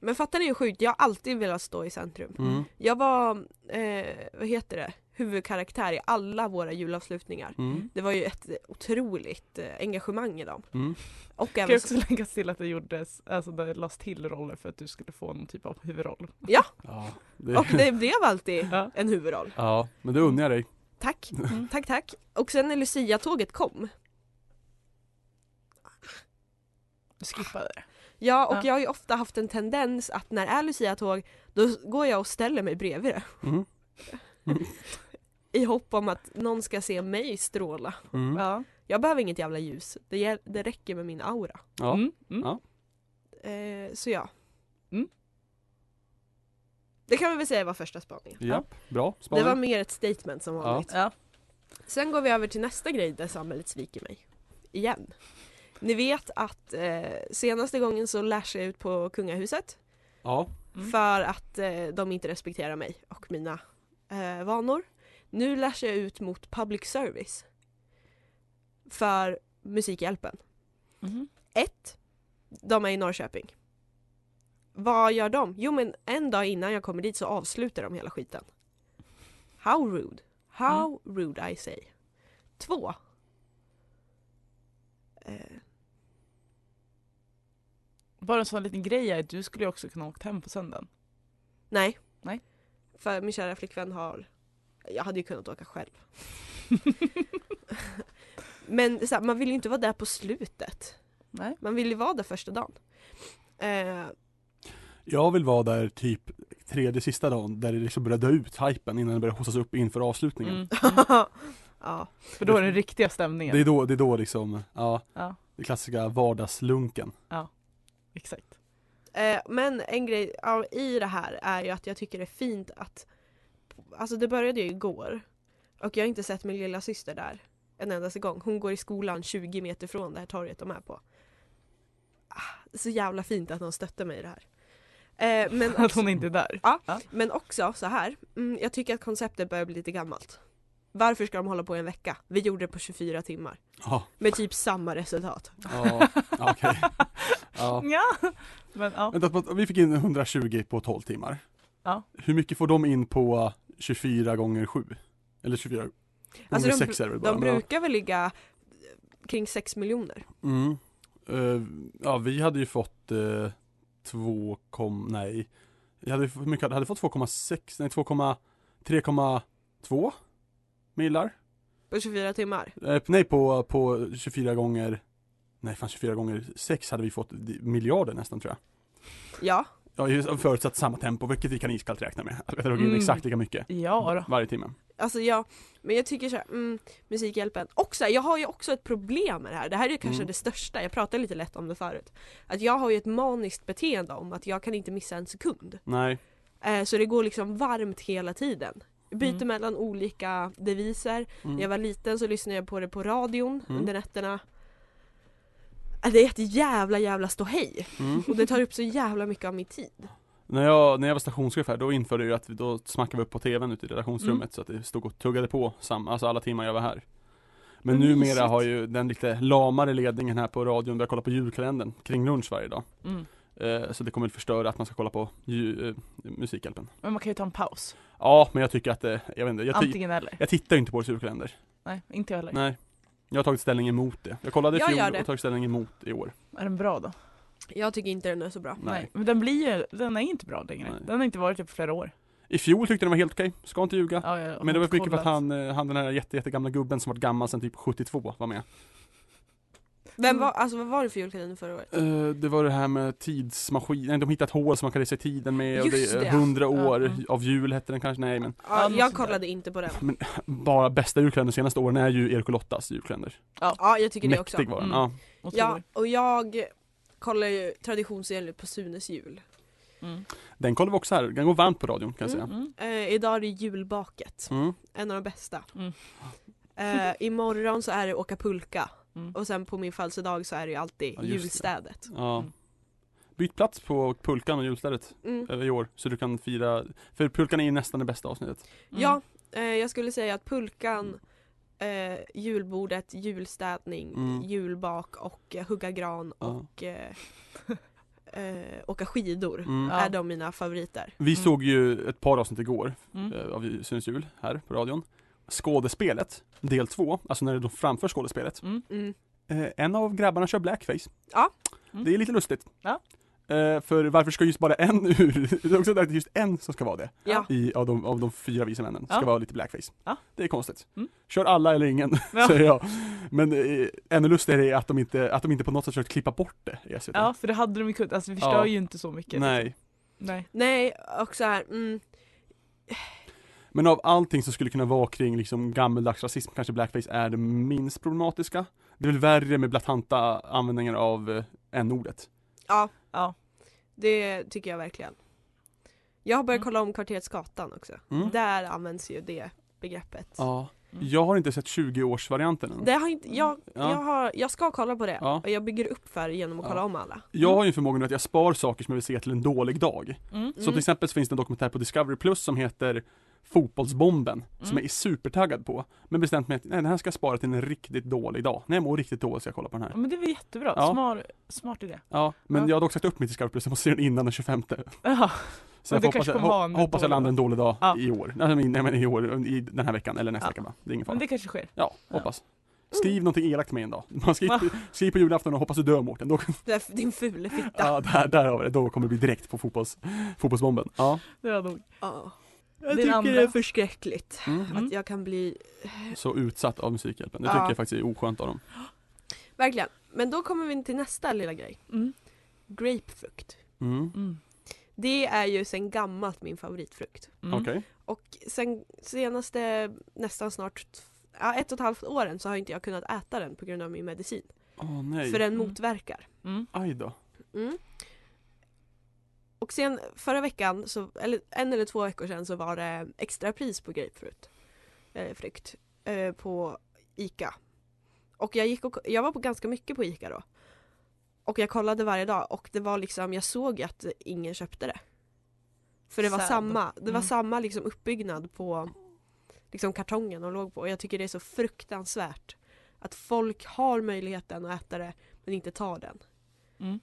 E: men fattar ni hur sjukt? Jag har alltid velat stå i centrum.
C: Mm.
E: Jag var, eh, vad heter det, huvudkaraktär i alla våra julavslutningar.
C: Mm.
E: Det var ju ett otroligt eh, engagemang i dem.
C: Mm.
E: Och
F: Ska jag
E: även så,
F: också lägga till att det gjordes, alltså det lades till roller för att du skulle få någon typ av huvudroll.
C: Ja,
E: och
C: det,
E: det Mm. blev alltid
F: Ja.
E: en huvudroll.
C: ja, men det unnar jag dig.
E: Tack,
F: Mm.
E: tack, tack. Och sen när Lucia-tåget kom,
F: Du skippade det.
E: ja och
F: Ja.
E: jag har ju ofta haft en tendens att när det är Lucia-tåg då går jag och ställer mig bredvid det.
C: Mm.
E: i hopp om att någon ska se mig stråla.
C: Mm.
F: Ja.
E: Jag behöver inget jävla ljus, det, gäll- det räcker med min aura.
C: Ja.
F: Mm. Mm.
E: Eh, så ja.
F: Mm.
E: Det kan vi väl säga var första spaningen.
C: Japp, bra
E: Det var
C: spaning.
E: mer ett statement som vanligt.
F: Ja.
E: Sen går vi över till nästa grej där samhället sviker mig. Igen. Ni vet att eh, senaste gången så lashade jag ut på kungahuset
C: Ja,
F: Mm.
E: för att eh, de inte respekterar mig och mina eh, vanor. Nu lashar jag ut mot public service för Musikhjälpen.
F: Mhm.
E: Ett, de är i Norrköping. Vad gör de? Jo men en dag innan jag kommer dit så avslutar de hela skiten. How rude. How rude I say. Två. Eh,
F: Bara en sån liten grej är att du skulle ju också kunna åkt hem på söndagen.
E: nej.
F: Nej.
E: För min kära flickvän har... Jag hade ju kunnat åka själv. Men det är så här, man vill ju inte vara där på slutet.
F: Nej.
E: Man vill ju vara där första dagen. Eh,
C: jag vill vara där typ tredje sista dagen där det liksom börjar dö ut hypen innan det börjar haussas upp inför avslutningen.
F: Mm.
E: ja.
F: För då är den riktiga stämningen.
C: Det är då, det är då liksom, ja,
F: Ja,
C: det klassiska vardagslunken.
F: exakt.
E: Eh, men en grej ja, i det här är ju att jag tycker det är fint att Alltså det började ju igår och jag har inte sett min lilla syster där en endaste gång. Hon går i skolan 20 meter från det här torget de är på. Ah, så jävla fint att någon stöttar mig i det här. Eh, men,
F: Att hon inte är där.
E: men också så här, mm, jag tycker att konceptet börjar bli lite gammalt. Varför ska de hålla på i en vecka? Vi gjorde det på 24 timmar.
C: Ja,
E: Med typ samma resultat.
C: ja, ja, okej. Ja.
F: Ja. Men ja.
C: Vänta, på- vi fick in 120 på 12 timmar.
F: Ja.
C: Hur mycket får de in på 24 gånger 7? Eller 24
E: Alltså
C: gånger
E: de,
C: 6 är det väl bara.
E: de
C: men ja.
E: brukar väl ligga eh, kring 6 miljoner.
C: Mm. Eh, ja, vi hade ju fått eh, 2, kom, nej. Jag hade, ju fått- hur mycket hade, hade fått 2,6, nej 2, 3,2 millar.
E: På 24 timmar?
C: Eh, nej, på, på 24 gånger, nej fan 24 gånger 6 hade vi fått di- miljarder nästan tror jag.
E: Ja.
C: Ja, just- förutsatt samma tempo, vilket vi kan iskallt räkna med. Att vi drog in
F: Mm.
C: exakt lika mycket
F: Ja då.
C: varje timme.
E: Alltså ja, men jag tycker så här, mm, Musikhjälpen. Och så här, jag har ju också ett problem med det här. Det här är ju kanske
C: Mm.
E: det största, jag pratade lite lätt om det förut. Att jag har ju ett maniskt beteende om att jag kan inte missa en sekund.
C: Nej.
E: Eh, så det går liksom varmt hela tiden. Jag byter
F: Mm.
E: mellan olika deviser.
C: Mm.
E: När jag var liten så lyssnade jag på det på radion
C: Mm.
E: under nätterna. Eh, Det är ett jävla jävla ståhej
C: Mm.
E: och det tar upp så jävla mycket av min tid.
C: När jag, när jag var stationschef här, då införde jag ju att vi, då smackade vi upp på tvn ute i redaktionsrummet
F: Mm.
C: så att det stod och tuggade på samma, alltså alla timmar jag var här. Men
F: Vad
C: numera
F: mysigt.
C: har ju den lite lamare ledningen här på radion börjat kolla på julkalendern kring lunch varje dag.
F: Mm.
C: Eh, så det kommer att förstöra att man ska kolla på ju, eh, Musikhjälpen.
F: Men man kan ju ta en paus.
C: Ja, men jag tycker att det, jag vet inte, jag, ti-
F: Antingen eller.
C: jag tittar ju inte på årets julkalender.
F: Nej, inte jag heller.
C: Nej. Jag har tagit ställning emot det. Jag kollade i
E: Jag
C: fjol
E: gör
C: och
E: det.
C: tagit ställning emot i år.
F: Är den bra då?
E: Jag tycker inte den är så bra.
C: Nej.
F: Men den blir ju, den är inte bra längre.
C: Nej.
F: Den har inte varit det på flera år.
C: I fjol tyckte jag den var helt okej, ska inte ljuga.
F: Ja, jag har
C: Men det var
F: inte
C: mycket för att
F: kollat.
C: han, eh, han den här jätte, jättegamla gubben som varit gammal sedan typ 72 var med. Mm.
E: Vem var, alltså vad var det för julkalender förra året?
C: Eh, det var det här med tidsmaskinen, de hittat hål som man kan resa i tiden med och
E: Just
C: det är
E: det.
C: 100 år
F: Ja, mm.
C: av jul hette den kanske, nej men
E: Ja,
F: något
E: jag
F: sånt där.
E: kollade inte på den.
C: bara bästa julkalendern de senaste åren är ju Erik och Lottas julkalender.
E: Ja, jag tycker det också.
C: Mäktig var den,
F: Mm.
C: ja.
E: Ja,
F: Otroligt.
E: och jag kollar ju traditionsenligt på Sunes jul.
F: Mm.
C: Den kollar vi också här, den går varmt på radion kan jag säga.
F: Mm.
E: Eh, idag är det julbaket,
C: Mm.
E: en av de bästa.
F: Mm.
E: Eh, imorgon så är det åka pulka
F: Mm.
E: och sen på min födelsedag så är det ju alltid
C: Ja, just det.
E: julstädet.
C: Ja.
F: Mm.
C: Byt plats på Pulkan och julstället
E: Mm.
C: eh, i år så du kan fira, för Pulkan är ju nästan det bästa avsnittet.
F: Mm.
E: Ja, eh, jag skulle säga att pulkan, eh, julbordet, julstädning,
C: Mm.
E: julbak och eh, hugga gran
C: Ja.
E: och eh, eh, åka skidor
C: Mm.
F: Ja.
E: är de mina favoriter.
C: Vi
F: Mm.
C: såg ju ett par avsnitt igår
F: Mm.
C: eh, av Syns jul här på radion. Skådespelet, del två, alltså när de framför skådespelet.
E: Mm.
C: Eh, en av grabbarna kör blackface.
E: Ja.
F: Mm.
C: Det är lite lustigt.
F: Ja.
C: Eh, för varför ska just bara en ur, det är också där just en som ska vara det,
E: Ja.
C: i, av, de, av de fyra vise männen, ska
F: Ah. Ja.
C: vara lite blackface.
F: Ja.
C: Det är konstigt.
F: Mm.
C: Kör alla eller ingen,
F: Ja.
C: säger jag. Men eh, ännu lustigare är att de, inte, att de inte på något sätt försökt klippa bort det i SVT.
F: ja, för det hade de ju kunnat. Alltså vi förstör
C: Ja.
F: ju inte så mycket.
C: Nej.
F: Nej.
E: Nej, och så här, mm,
C: Men av allting som skulle kunna vara kring liksom gammeldags rasism kanske blackface är det minst problematiska. Det är väl värre med blatanta användningar av eh, n-ordet.
E: Ja,
F: Ja.
E: det tycker jag verkligen. Jag har börjat
F: Mm.
E: kolla om Kvarteret Skatan också.
C: Mm.
E: Där används ju det begreppet.
C: Ja.
F: Mm.
C: Jag har inte sett 20-årsvarianten än.
E: Det har inte, jag,
C: Ja.
E: jag, har, jag ska kolla på det
C: Ja.
F: Mm.
E: och jag bygger upp för genom att
C: Ja.
E: kolla om alla.
C: Jag har ju förmågan att jag spar saker som jag vill se till en dålig dag.
F: Mm.
C: Så till exempel så finns det en dokumentär på Discovery Plus som heter Fotbollsbomben, som jag
F: Mm.
C: är supertaggad på. Men bestämt mig att nej, den här ska jag spara till en riktigt dålig dag. När jag mår riktigt dåligt ska jag kolla på den
F: Ja,
C: här.
F: Men det var jättebra,
C: Ja.
F: Smart, smart idé.
C: Ja, men
F: Ja.
C: jag har dock sagt upp mitt Discovery Plus, jag måste se den innan den 25.
F: Ja.
C: Så jag
F: Men du
C: hoppas,
F: kanske
C: jag,
F: kommer ha
C: ho-
F: en
C: hoppas jag
F: dålig
C: landar en dålig dag
F: Ja.
C: i år. Nej men, nej men i år, i den här veckan eller nästa
F: Ja.
C: vecka bara. Det är ingen fara.
F: Men det kanske sker.
C: Ja,
F: Ja.
C: hoppas. Skriv någonting elakt med en dag. Man skriver, skriv på julafton och hoppas du dör Mårten. Då,
E: Det är Din fule fitta.
C: ja, där, där har vi det. Då kommer det bli direkt på fotbolls, fotbollsbomben. Ja.
F: Det var nog.
E: Ja.
F: Din
E: Jag tycker
F: andra.
E: det är förskräckligt
F: Mm.
E: att jag kan bli,
C: Så utsatt av Musikhjälpen. Det
E: Ja.
C: tycker jag faktiskt är oskönt av dem.
E: verkligen. Men då kommer vi till nästa lilla grej.
F: Mm.
E: Grapefrukt.
C: Mm.
F: Mm.
E: Det är ju sen gammalt min favoritfrukt.
F: Mm.
C: Okej.
E: Och sen senaste nästan snart t- ja, ett och ett halvt åren så har inte jag kunnat äta den på grund av min medicin.
C: Åh nej.
E: För den
F: Mm.
E: motverkar.
F: Mm.
C: Aj då.
E: Mm. Och sen förra veckan, så, eller en eller två veckor sedan så var det extra pris på grapefrukt. Eh, frukt. Eh, på ICA. Och jag, gick och jag var på ganska mycket på ICA då. Och jag kollade varje dag och det var liksom, jag såg ju att ingen köpte det. För det var
F: Sad.
E: samma, det var
F: Mm.
E: samma liksom uppbyggnad på liksom kartongen de låg på. Och jag tycker det är så fruktansvärt att folk har möjligheten att äta det men inte tar den.
F: Mm.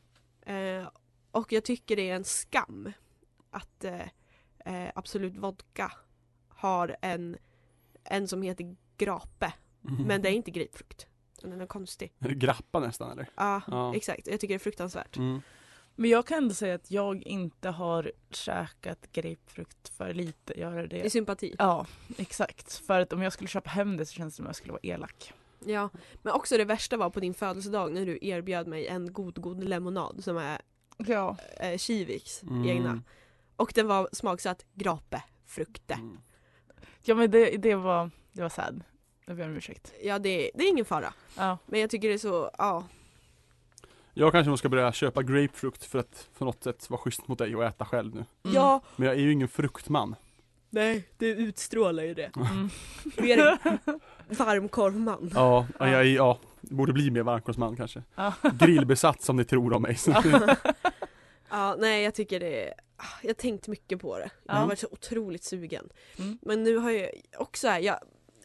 E: Eh, och jag tycker det är en skam att eh, eh, Absolut Vodka har en, en som heter Grape.
C: Mm.
E: Men det är inte grapefrukt. Den är konstig.
C: Grappa nästan eller?
E: Ja,
C: Ja.
E: exakt. Jag tycker det är fruktansvärt.
C: Mm.
F: Men jag kan ändå säga att jag inte har käkat grapefrukt för lite. Jag har
E: I
F: det.
E: sympati.
F: Ja, exakt. För att om jag skulle köpa hem det så känns det som att jag skulle vara elak.
E: Ja. Men också det värsta var på din födelsedag när du erbjöd mig en god god lemonad som är
F: Ja.
E: eh, Kiviks
C: Mm.
E: egna. Och den var smaksatt grape, frukte.
C: Mm.
F: Ja men det, det var, det var sad. Jag ber om ursäkt.
E: Ja det, det är ingen fara.
F: Ja.
E: Men jag tycker det är så, ja.
C: Jag kanske nog ska börja köpa grapefrukt för att på något sätt vara schysst mot dig och äta själv nu.
F: Mm.
E: Ja.
C: Men jag är ju ingen fruktman.
E: Nej, det utstrålar ju det.
F: Mm.
E: Du är en varmkorvman.
C: Ja, ja, jag är, ja, borde bli mer varmkorvsman kanske.
F: Ja.
C: Grillbesatt som ni tror om mig. Så.
E: Ja, nej jag tycker det är... ah, Jag har tänkt mycket på det. Jag har
F: Ja.
E: varit så otroligt sugen.
F: Mm.
E: Men nu har jag också här, jag,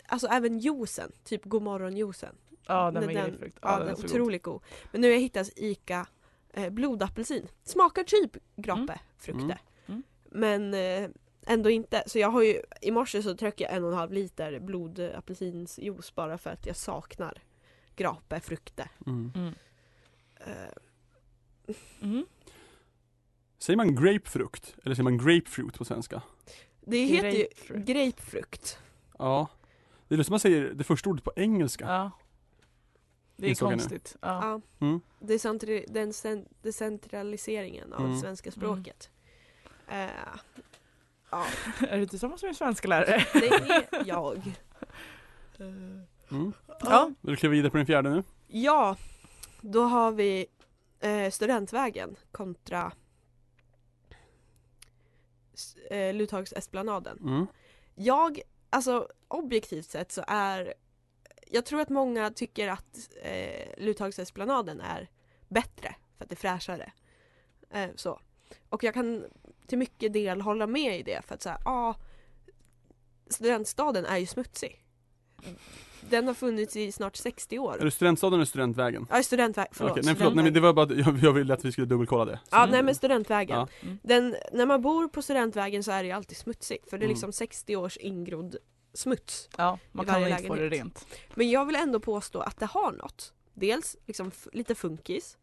E: alltså även juicen, typ godmorgonjuicen.
F: ja, den
E: Den-
F: med
E: den-
F: grapefrukt.
E: Ja, den
F: den
E: är
F: var så god.
E: otroligt god. Men nu har jag hittat Ica eh, blodapelsin. Smakar typ grape, frukter.
C: Mm.
F: Mm.
E: Men eh, ändå inte. Så jag har ju, i morse så tryckte jag en och en halv liter blodapelsinsjuice bara för att jag saknar grape, frukter.
C: Mm.
F: Mm.
E: Eh,
F: Mm.
C: Säger man grapefrukt? Eller säger man grapefruit på svenska?
E: det heter ju
F: Grapefrukt.
E: grapefrukt.
C: Ja. Det är som man säger det första ordet på engelska.
F: Ja. Det är
C: Insåg jag nu.
F: konstigt. Ja.
E: Ja.
C: Mm.
E: Decentri- den cen- decentraliseringen av
C: Mm.
E: svenska språket. Eh, ja,
F: Är du tillsammans med en svenska lärare?
E: det är jag. Eh,
C: Mm.
F: Ja.
C: Vill du kliva vidare på den fjärde nu?
E: ja, då har vi eh, Studentvägen kontra s- eh, Luthagsesplanaden.
C: Mm.
E: Jag, alltså objektivt sett så är Jag tror att många tycker att eh, Luthagsesplanaden är bättre för att det är fräschare. Eh, så. Och jag kan till mycket del hålla med i det för att säga, ja Studentstaden är ju smutsig. Den har funnits i snart 60
C: Är
E: år.
C: det studentstaden eller studentvägen?
E: Ja, studentvägen, förlåt.
C: Okej, nej förlåt, nej, men det var bara, att jag, jag ville att vi skulle dubbelkolla det.
E: Ja, nej men studentvägen.
C: Ja.
F: Mm.
E: Den, när man bor på studentvägen så är det ju alltid smutsigt för det är
C: Mm.
E: liksom 60 års ingrodd smuts.
F: Ja, man
E: I
F: kan
E: varje
F: inte få det
E: lägenhet.
F: rent.
E: Men jag vill ändå påstå att det har något. Dels liksom f- lite funkis.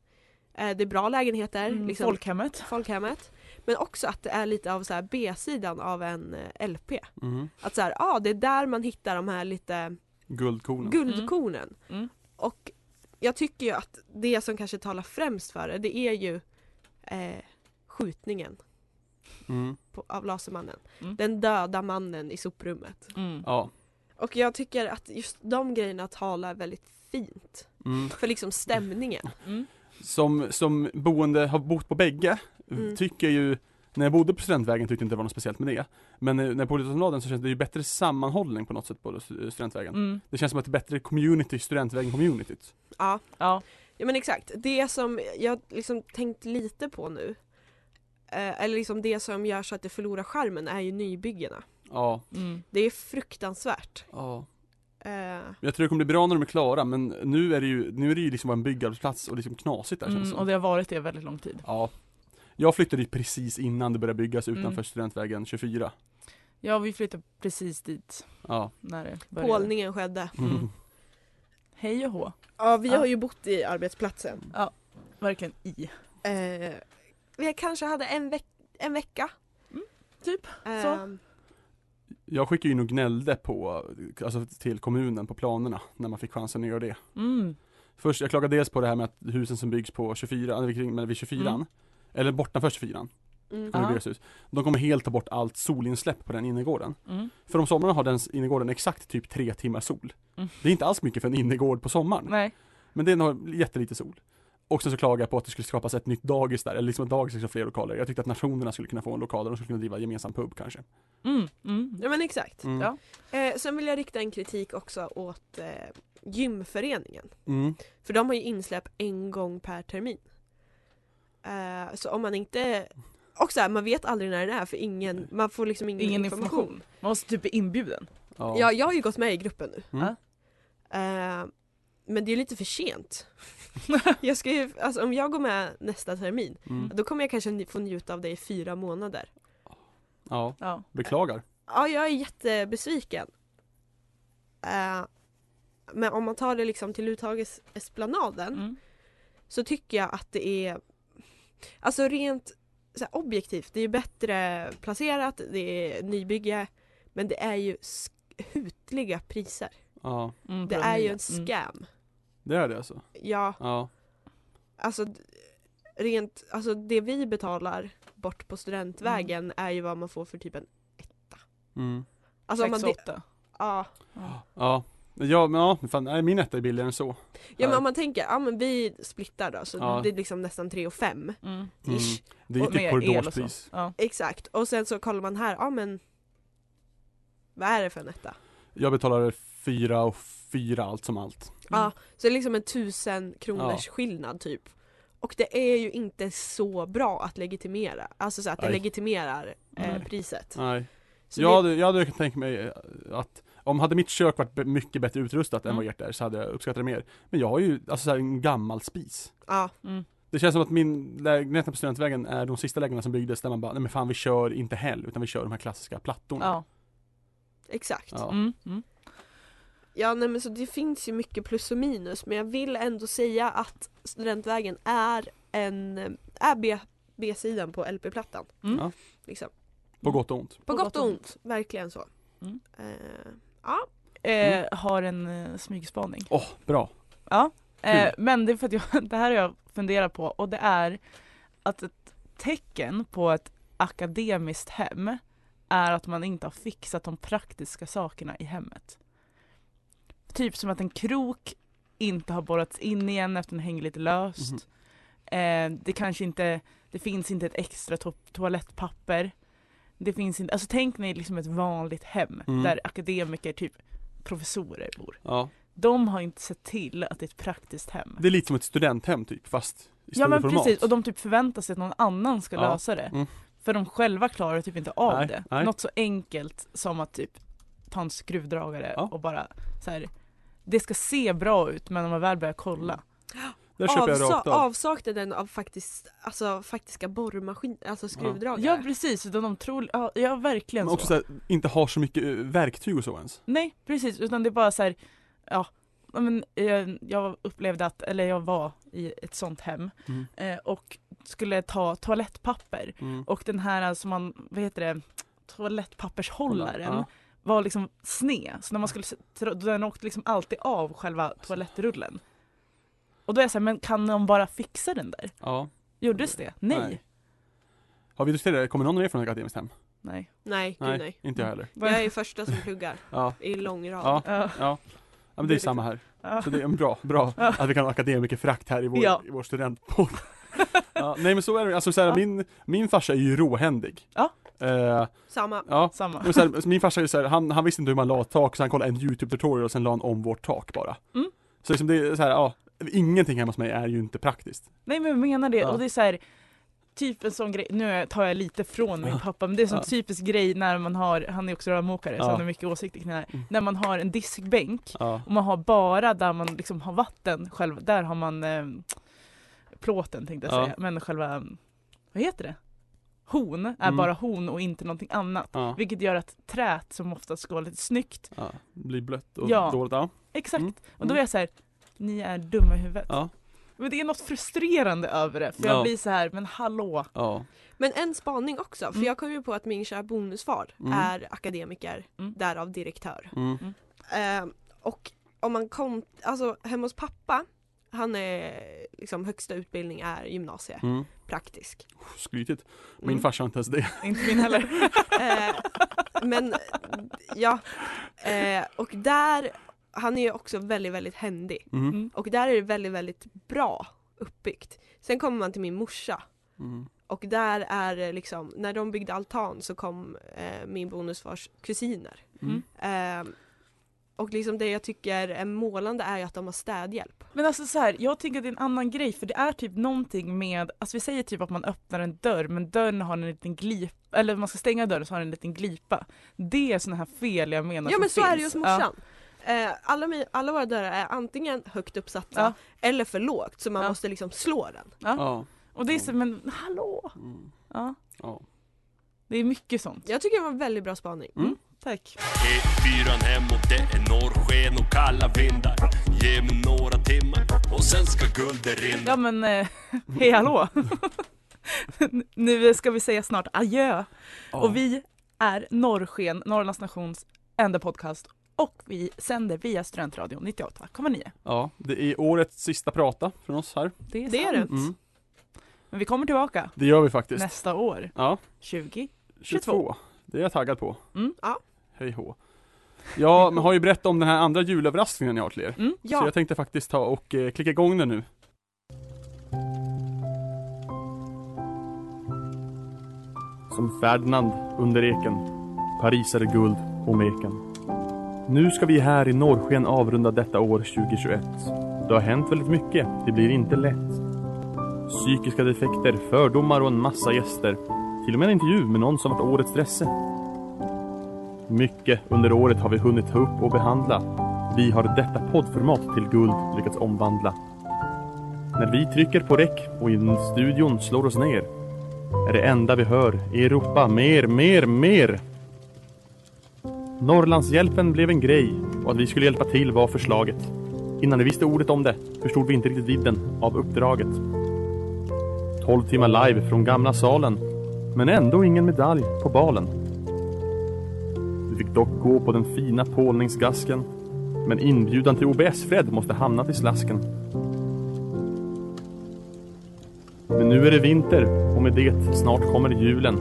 E: Eh, det är bra lägenheter,
F: Mm.
E: liksom
F: Folkhemmet.
E: folkhemmet. Men också att det är lite av så här B-sidan av en eh, LP.
C: Mm.
E: Att så här, ja det är där man hittar de här lite
C: Guldkornen.
E: guldkornen.
F: Mm.
E: Och jag tycker ju att det som kanske talar främst för det, det är ju eh, skjutningen
C: Mm.
E: på, av Lasermannen.
F: Mm.
E: Den döda mannen i soprummet.
F: Mm.
C: Ja.
E: Och jag tycker att just de grejerna talar väldigt fint
C: Mm.
E: för liksom stämningen.
F: Mm.
C: Som, som boende, har bott på bägge,
E: Mm.
C: tycker ju när jag bodde på Studentvägen tyckte jag inte det var något speciellt med det. Men eh, när jag bodde på Politomladen så känns det ju bättre sammanhållning på något sätt på stu- Studentvägen.
F: Mm.
C: Det känns som att det är bättre community, Studentvägen-communityt.
E: Ja.
F: Ja.
E: ja, men exakt. Det som jag liksom tänkt lite på nu, eh, eller liksom det som gör så att det förlorar charmen är ju nybyggena.
C: Ja.
F: Mm.
E: Det är fruktansvärt.
C: ja.
E: Eh,
C: Jag tror det kommer bli bra när de är klara men nu är det ju, nu är det ju liksom bara en byggarbetsplats och liksom knasigt där känns
F: Mm.
C: som.
F: Och det har varit det väldigt lång tid.
C: Ja. Jag flyttade ju precis innan det började byggas utanför
F: Mm.
C: Studentvägen 24.
F: Ja, vi flyttade precis dit
C: Ja.
F: när det började.
E: pålningen skedde.
F: Mm. Hej och hå.
E: Ja, vi
F: Ja.
E: har ju bott i arbetsplatsen.
F: Verkligen i.
E: Eh, vi kanske hade en, veck en vecka.
F: Mm, typ så.
E: Ehm,
C: Jag skickade ju in och gnällde på, alltså till kommunen på planerna när man fick chansen att göra det.
F: Mm.
C: Först, jag klagade dels på det här med att husen som byggs på 24, eller vid- men vid 24
F: Mm.
C: Eller bortanför 24
E: Mm.
C: kommer
F: Ja.
C: det byggas hus. De kommer helt ta bort allt solinsläpp på den innergården.
F: Mm.
C: För om sommaren har den innergården exakt typ tre timmar sol.
F: Mm.
C: Det är inte alls mycket för en innergård på sommaren.
F: Nej.
C: Men den har jättelite sol. Och sen så klagade jag på att det skulle skapas ett nytt dagis där, eller liksom ett dagis skulle ha fler lokaler. Jag tyckte att nationerna skulle kunna få en lokal och de skulle kunna driva en gemensam pub kanske.
F: Mm. Mm.
E: Ja men exakt.
C: Mm.
F: Ja.
E: Eh, sen vill jag rikta en kritik också åt eh, gymföreningen.
C: Mm.
E: För de har ju insläpp en gång per termin. Eh, så om man inte... Och så här, man vet aldrig när den är för ingen, man får liksom ingen,
F: Ingen
E: information.
F: information. Man måste typ bli inbjuden.
C: Ja.
E: Ja, jag har ju gått med i gruppen nu.
C: Mm.
E: Eh, men det är lite för sent. jag ska ju, alltså, om jag går med nästa termin,
C: Mm.
E: då kommer jag kanske nj- få njuta av det i fyra månader.
C: ja,
F: Ja.
C: beklagar.
E: Ja, jag är jättebesviken. Eh, men om man tar det liksom till Uttages esplanaden
F: Mm.
E: så tycker jag att det är Alltså rent så här, objektivt, det är ju bättre placerat, det är nybygge men det är ju skutliga priser.
C: Ja,
F: Mm, på
E: Det
F: den
E: är ju
F: nya.
E: en scam.
C: det är det alltså.
E: Ja,
C: Ja.
E: alltså d- rent, alltså det vi betalar bort på studentvägen
F: Mm.
E: är ju vad man får för typ en
C: Mm.
E: Alltså om
F: Mm.
E: man,
F: Sex,
E: det,
F: åtta.
E: ja.
C: Ja. Ja, men ja, fan, nej, min etta är billigare än så.
E: ja men
C: Ja.
E: om man tänker, ja men vi splittar då så
C: Ja.
E: det är liksom nästan 3 och 5
F: Mm.
C: Mm.
E: ish.
C: Det är ju
F: Och med
C: typ
F: el och så.
C: korridorspris.
F: Ja.
E: Exakt, och sen så kollar man här, ja men vad är det för en etta?
C: Jag betalar fyra och fyra allt som allt.
E: Ja, så det är liksom en tusen kronors skillnad typ. Och det är ju inte så bra att legitimera, alltså så att det
C: Nej.
E: legitimerar eh,
F: Nej.
E: priset.
C: Nej.
E: Så
C: Jag
E: det,
C: hade, jag hade kunnat tänka mig eh, att om hade mitt kök varit be- mycket bättre utrustat än
F: Mm.
C: vad ert är så hade jag uppskattat det mer. Men jag har ju alltså så här, en gammal spis.
E: ja,
F: Mm.
C: Det känns som att min lägenhet på Studentvägen är de sista lägenheterna som byggdes där man bara, nej men fan vi kör inte hell utan vi kör de här klassiska plattorna.
F: Ja.
E: exakt. Ja.
C: Ja.
F: Mm. Mm.
E: nej men så det finns ju mycket plus och minus men jag vill ändå säga att Studentvägen är en, eh, är B, B-sidan på LP-plattan.
F: Mm.
C: Ja.
E: Liksom.
C: På gott och ont.
E: På gott och ont, verkligen så.
F: Mm.
E: Eh, ja,
F: Eh, har en eh, smygspaning.
C: Åh, bra.
F: Eh, men det är för att jag, det här har jag funderat på och det är att ett tecken på ett akademiskt hem är att man inte har fixat de praktiska sakerna i hemmet. Typ som att en krok inte har borrats in igen efter den hänger lite löst. Eh, det kanske inte, det finns inte ett extra to- toalettpapper. Det finns inte, alltså tänk ni liksom ett vanligt hem
C: Mm.
F: där akademiker, typ professorer bor.
C: Ja.
F: De har inte sett till att det är ett praktiskt hem.
C: Det är lite som ett studenthem typ fast i
F: Ja
C: större
F: men
C: format.
F: precis, och de typ förväntar sig att någon annan ska
C: Ja.
F: lösa det.
C: Mm.
F: För de själva klarar typ inte av
C: Nej,
F: det.
C: nej.
F: Något så enkelt som att typ ta en skruvdragare
C: Ja.
F: och bara så här. Det ska se bra ut men om man väl börjar kolla.
C: Där köper jag
E: avsa-
C: rakt av.
E: avsaknaden av faktiskt, alltså, faktiska borrmaskiner, alltså skruvdragare.
F: Ja precis, utan de tror, ja, ja verkligen
C: Men
F: så.
C: också så här, inte har så mycket eh, verktyg och så ens.
F: Nej precis, utan det är bara så här, ja. ja, Men, eh, jag upplevde att, eller jag var i ett sånt hem
C: Mm.
F: eh, och skulle ta toalettpapper
C: Mm.
F: och den här som alltså man, vad heter det, toalettpappershållaren
C: Ja.
F: var liksom sned. Så när man skulle, s- tra- den åkte liksom alltid av själva toalettrullen. Och då är jag såhär, men kan de bara fixa den där?
C: ja.
F: Gjordes det? Nej.
C: Nej. Har vi diskuterat det? Kommer någon av er från ett akademiskt hem?
F: Nej.
E: Nej, gud nej.
C: inte jag heller.
E: Jag är första som pluggar
C: Ja,
E: i lång rad.
C: ja,
F: Ja.
C: ja. Ja, men det är
F: Det är
C: samma här.
F: Ja.
C: Så det är en bra, bra
F: Ja.
C: att vi kan ha akademikerfrakt här i vår,
F: Ja.
C: i vår studentpodd. ja, nej men så är det, alltså så här,
F: Ja.
C: min, min farsa är ju råhändig.
F: Ja.
C: Eh,
E: Samma.
C: ja.
F: Samma.
C: Men så här, så min farsa är så här, han, han visste inte hur man la ett tak så han kollade en youtube tutorial och sen la han om vårt tak bara.
F: Mm.
C: Så liksom det är så här, ja, ingenting hemma hos mig är ju inte praktiskt.
F: Nej men jag menar det,
C: Ja.
F: och det är så här Typ en sån grej, nu tar jag lite från min
C: Ja.
F: pappa men det är en sån
C: Ja.
F: typisk grej när man har, han är också rörmokare så
C: Ja.
F: han har mycket åsikter kring det här.
C: Mm.
F: När man har en diskbänk
C: Ja.
F: och man har bara där man liksom har vatten själv, där har man eh, plåten tänkte jag
C: Ja.
F: säga, men själva, eh, vad heter det? Horn är
C: Mm.
F: bara horn och inte någonting annat.
C: Ja.
F: Vilket gör att träet som oftast går lite snyggt,
C: ja. Blir blött och
F: Ja.
C: dåligt. Ja.
F: exakt.
C: Mm.
F: Och då
C: Mm.
F: är jag så här, ni är dumma i huvudet.
C: Ja.
F: Men det är något frustrerande över det, för
C: Ja.
F: jag blir så här, men hallå.
C: Ja.
E: Men en spaning också, för
F: Mm.
E: jag kom ju på att min kära bonusfar
C: Mm.
E: är akademiker,
F: Mm.
E: därav direktör.
C: Mm.
E: Eh, och om man kom, alltså hemma hos pappa, han är liksom högsta utbildning är gymnasie,
C: Mm.
E: praktisk.
C: Skrytigt. Min
E: Mm.
C: farsa har inte ens det.
F: Inte min heller.
E: Eh, men ja, eh, och där, han är ju också väldigt, väldigt händig.
C: Mm.
E: Och där är det väldigt, väldigt bra uppbyggt. Sen kommer man till min morsa
C: Mm.
E: och där är det liksom, när de byggde altan så kom eh, min bonusfars kusiner.
C: Mm.
E: Eh, och liksom det jag tycker är målande är ju att de har städhjälp.
F: Men alltså så här, jag tycker att det är en annan grej för det är typ någonting med, alltså vi säger typ att man öppnar en dörr men dörren har en liten glipa, eller man ska stänga dörren så har den en liten glipa. Det är sådana här fel jag menar
E: Ja
F: som
E: men så
F: finns.
E: är det ju hos morsan. Eh, alla, mi- alla våra dörrar är antingen högt uppsatta
F: Ja.
E: eller för lågt så man
F: Ja.
E: måste liksom slå den.
C: Ja.
F: Ja. Och det är så, men hallå!
C: Mm.
F: Ja,
C: Ja.
F: det är mycket sånt.
E: Jag tycker det var en väldigt bra spaning.
C: Mm.
F: Mm. Tack.
B: E4 hemåt, det är norrsken och kalla vindar Ge mig några timmar och sen ska guldet rinna
F: Ja men, eh, hej hallå! nu ska vi säga snart adjö.
C: Ja.
F: Och vi är Norrsken, Norrlands nations enda podcast och vi sänder via Studentradion 98,9.
C: ja, det är årets sista prata från oss här.
F: Det är,
E: Det är
F: sant.
E: det.
C: Mm.
F: Men vi kommer tillbaka
C: Det gör vi faktiskt.
F: nästa år,
C: Ja,
F: 20.
C: 22. Det är jag taggad på.
F: Mm.
E: Ja.
C: Hej hå. Jag har ju berättat om den här andra julöverraskningen jag har till er.
F: Mm.
C: Så
E: Ja,
C: jag tänkte faktiskt ta och eh, klicka igång den nu. Som Ferdinand under eken. Paris är guld och meken. Nu ska vi här i norrsken avrunda detta år 2021. Det har hänt väldigt mycket, det blir inte lätt. Psykiska defekter, fördomar och en massa gäster. Till och med en intervju med någon som varit årets stresse. Mycket under året har vi hunnit ta upp och behandla. Vi har detta poddformat till guld lyckats omvandla. När vi trycker på räck och in studion slår oss ner är det enda vi hör i Europa mer, mer, mer. Norrlandshjälpen blev en grej och att vi skulle hjälpa till var förslaget. Innan vi visste ordet om det förstod vi inte riktigt vidden av uppdraget. 12 timmar live från gamla salen men ändå ingen medalj på balen. Vi fick dock gå på den fina pålningsgasken men inbjudan till OBS-Fred måste hamnat i slasken. Men nu är det vinter och med det snart kommer julen.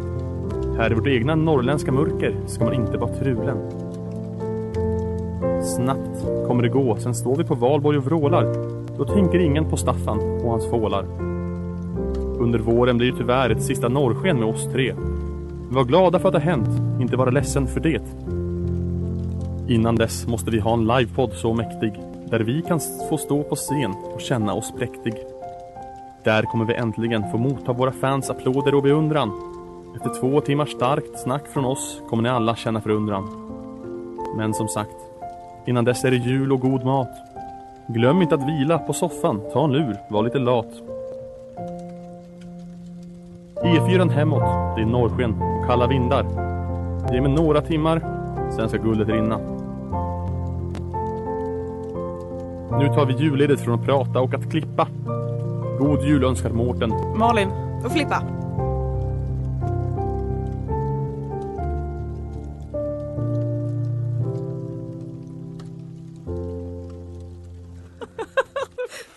C: Här i vårt egna norrländska mörker ska man inte vara trulen. Snabbt kommer det gå, sen står vi på valborg och vrålar. Då tänker ingen på Staffan och hans fålar. Under våren blir det tyvärr ett sista norrsken med oss tre. Var glada för att det har hänt, inte vara ledsen för det. Innan dess måste vi ha en livepodd så mäktig där vi kan få stå på scen och känna oss präktig. Där kommer vi äntligen få motta våra fans applåder och beundran. Efter två timmar starkt snack från oss kommer ni alla känna förundran. Men som sagt, innan dess är det jul och god mat. Glöm inte att vila på soffan, ta en lur, var lite lat. E4 E hemåt, det är norrsken och kalla vindar. Ge mig några timmar Sen ska guldet rinna. Nu tar vi julledigt från att prata och att klippa. God jul önskar Mårten.
F: Malin,
E: och Flippa.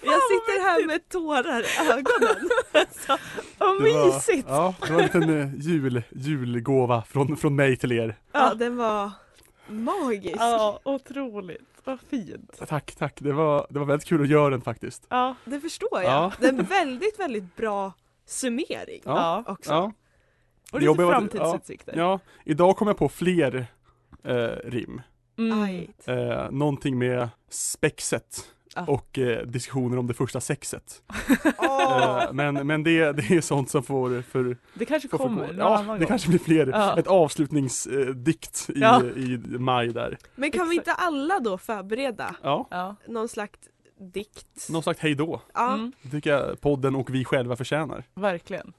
E: Jag sitter här med tårar i ögonen.
F: åh Vad
C: Det var-
F: mysigt!
C: Ja, det var en liten eh, jul, julgåva från, från mig till er.
E: Ja, den var magisk.
F: Ja, otroligt. Vad fint.
C: Tack, tack. Det var, det var väldigt kul att göra den faktiskt.
F: Ja,
E: Det förstår jag.
C: Ja.
E: Det är en väldigt, väldigt bra summering
F: ja.
E: också.
C: ja.
F: Och
C: Det jobbiga
F: lite
C: var-
F: framtidsutsikter.
C: Ja, idag kom jag på fler eh, rim.
F: Mm.
E: Aj.
C: Eh, någonting med spexet
F: Ah.
C: och eh, diskussioner om det första sexet.
E: Åh,
C: Eh, men men det, det är sånt som får, för,
F: Ah. Det kanske
C: får
F: kommer
C: för,
F: någon
C: Ja,
F: annan
C: det
F: gång.
C: kanske blir fler.
F: Ja.
C: Ett avslutningsdikt i,
F: Ja.
C: i maj där.
E: Men kan vi inte alla då förbereda
C: Ja,
F: Ja.
E: någon slags dikt?
C: någon slags hejdå.
E: Ja,
F: Mm.
C: Det tycker jag podden och vi själva förtjänar.
F: Verkligen.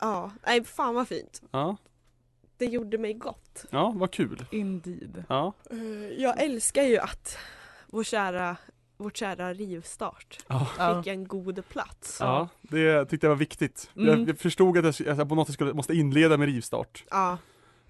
E: ja. Nej, fan vad fint.
C: Ja,
E: Det gjorde mig gott.
C: ja vad kul.
F: Indeed.
C: Ja,
E: Eh, Jag älskar ju att vår kära, vårt kära rivstart
F: Ja.
E: fick en god plats.
C: ja det tyckte jag var viktigt.
F: Mm.
C: Jag, jag förstod att jag, jag på något sätt skulle, måste inleda med rivstart
E: Ja,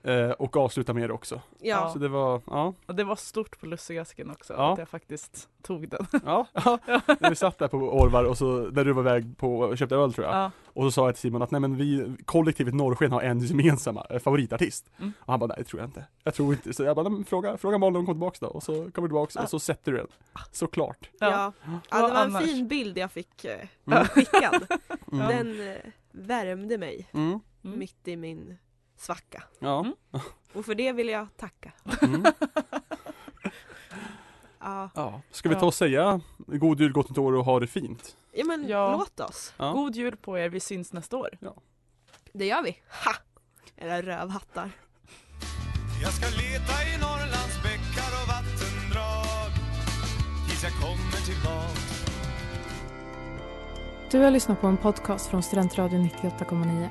C: eh, och avsluta med det också.
E: ja.
C: Så det var, ja.
F: Och det var stort på lussegasken också
C: Ja.
F: att jag faktiskt tog den.
C: Ja, ja. När vi satt där på Orvar och så, när du var iväg på, och köpte öl tror jag.
F: Ja.
C: Och så sa jag till Simon att nej men vi, kollektivet Norrsken har en gemensamma eh, favoritartist.
F: Mm.
C: Och han bara, nej det tror jag inte. Jag tror inte. Så jag bara, nej, men fråga, fråga Malin om hon kommer tillbaks då. Och så kommer du tillbaks och så sätter du den. Såklart.
E: Ja. ja, det
F: Vad
E: var en
F: annars?
E: fin bild jag fick eh,
C: Mm.
E: skickad.
C: Mm.
E: Den eh, värmde mig
C: Mm.
F: Mm.
E: mitt i min svacka.
C: Ja.
F: Mm.
E: Och för det vill jag tacka.
C: Mm.
E: Ja,
C: ja. Ska vi ta och säga god jul, gott nytt år och ha det fint?
E: ja men
F: Ja.
E: låt oss.
C: Ja.
F: God jul på er, vi syns nästa år.
E: Det gör vi. Ha! Era rövhattar.
B: Jag ska leta i Norrlands bäckar och vattendrag tills jag kommer tillbaka
A: Du har lyssnat på en podcast från Studentradion 98,9.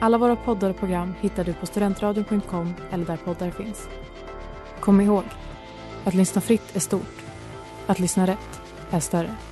A: Alla våra poddar och program hittar du på studentradion.com eller där poddar finns. Kom ihåg, att lyssna fritt är stort. Att lyssna rätt är större.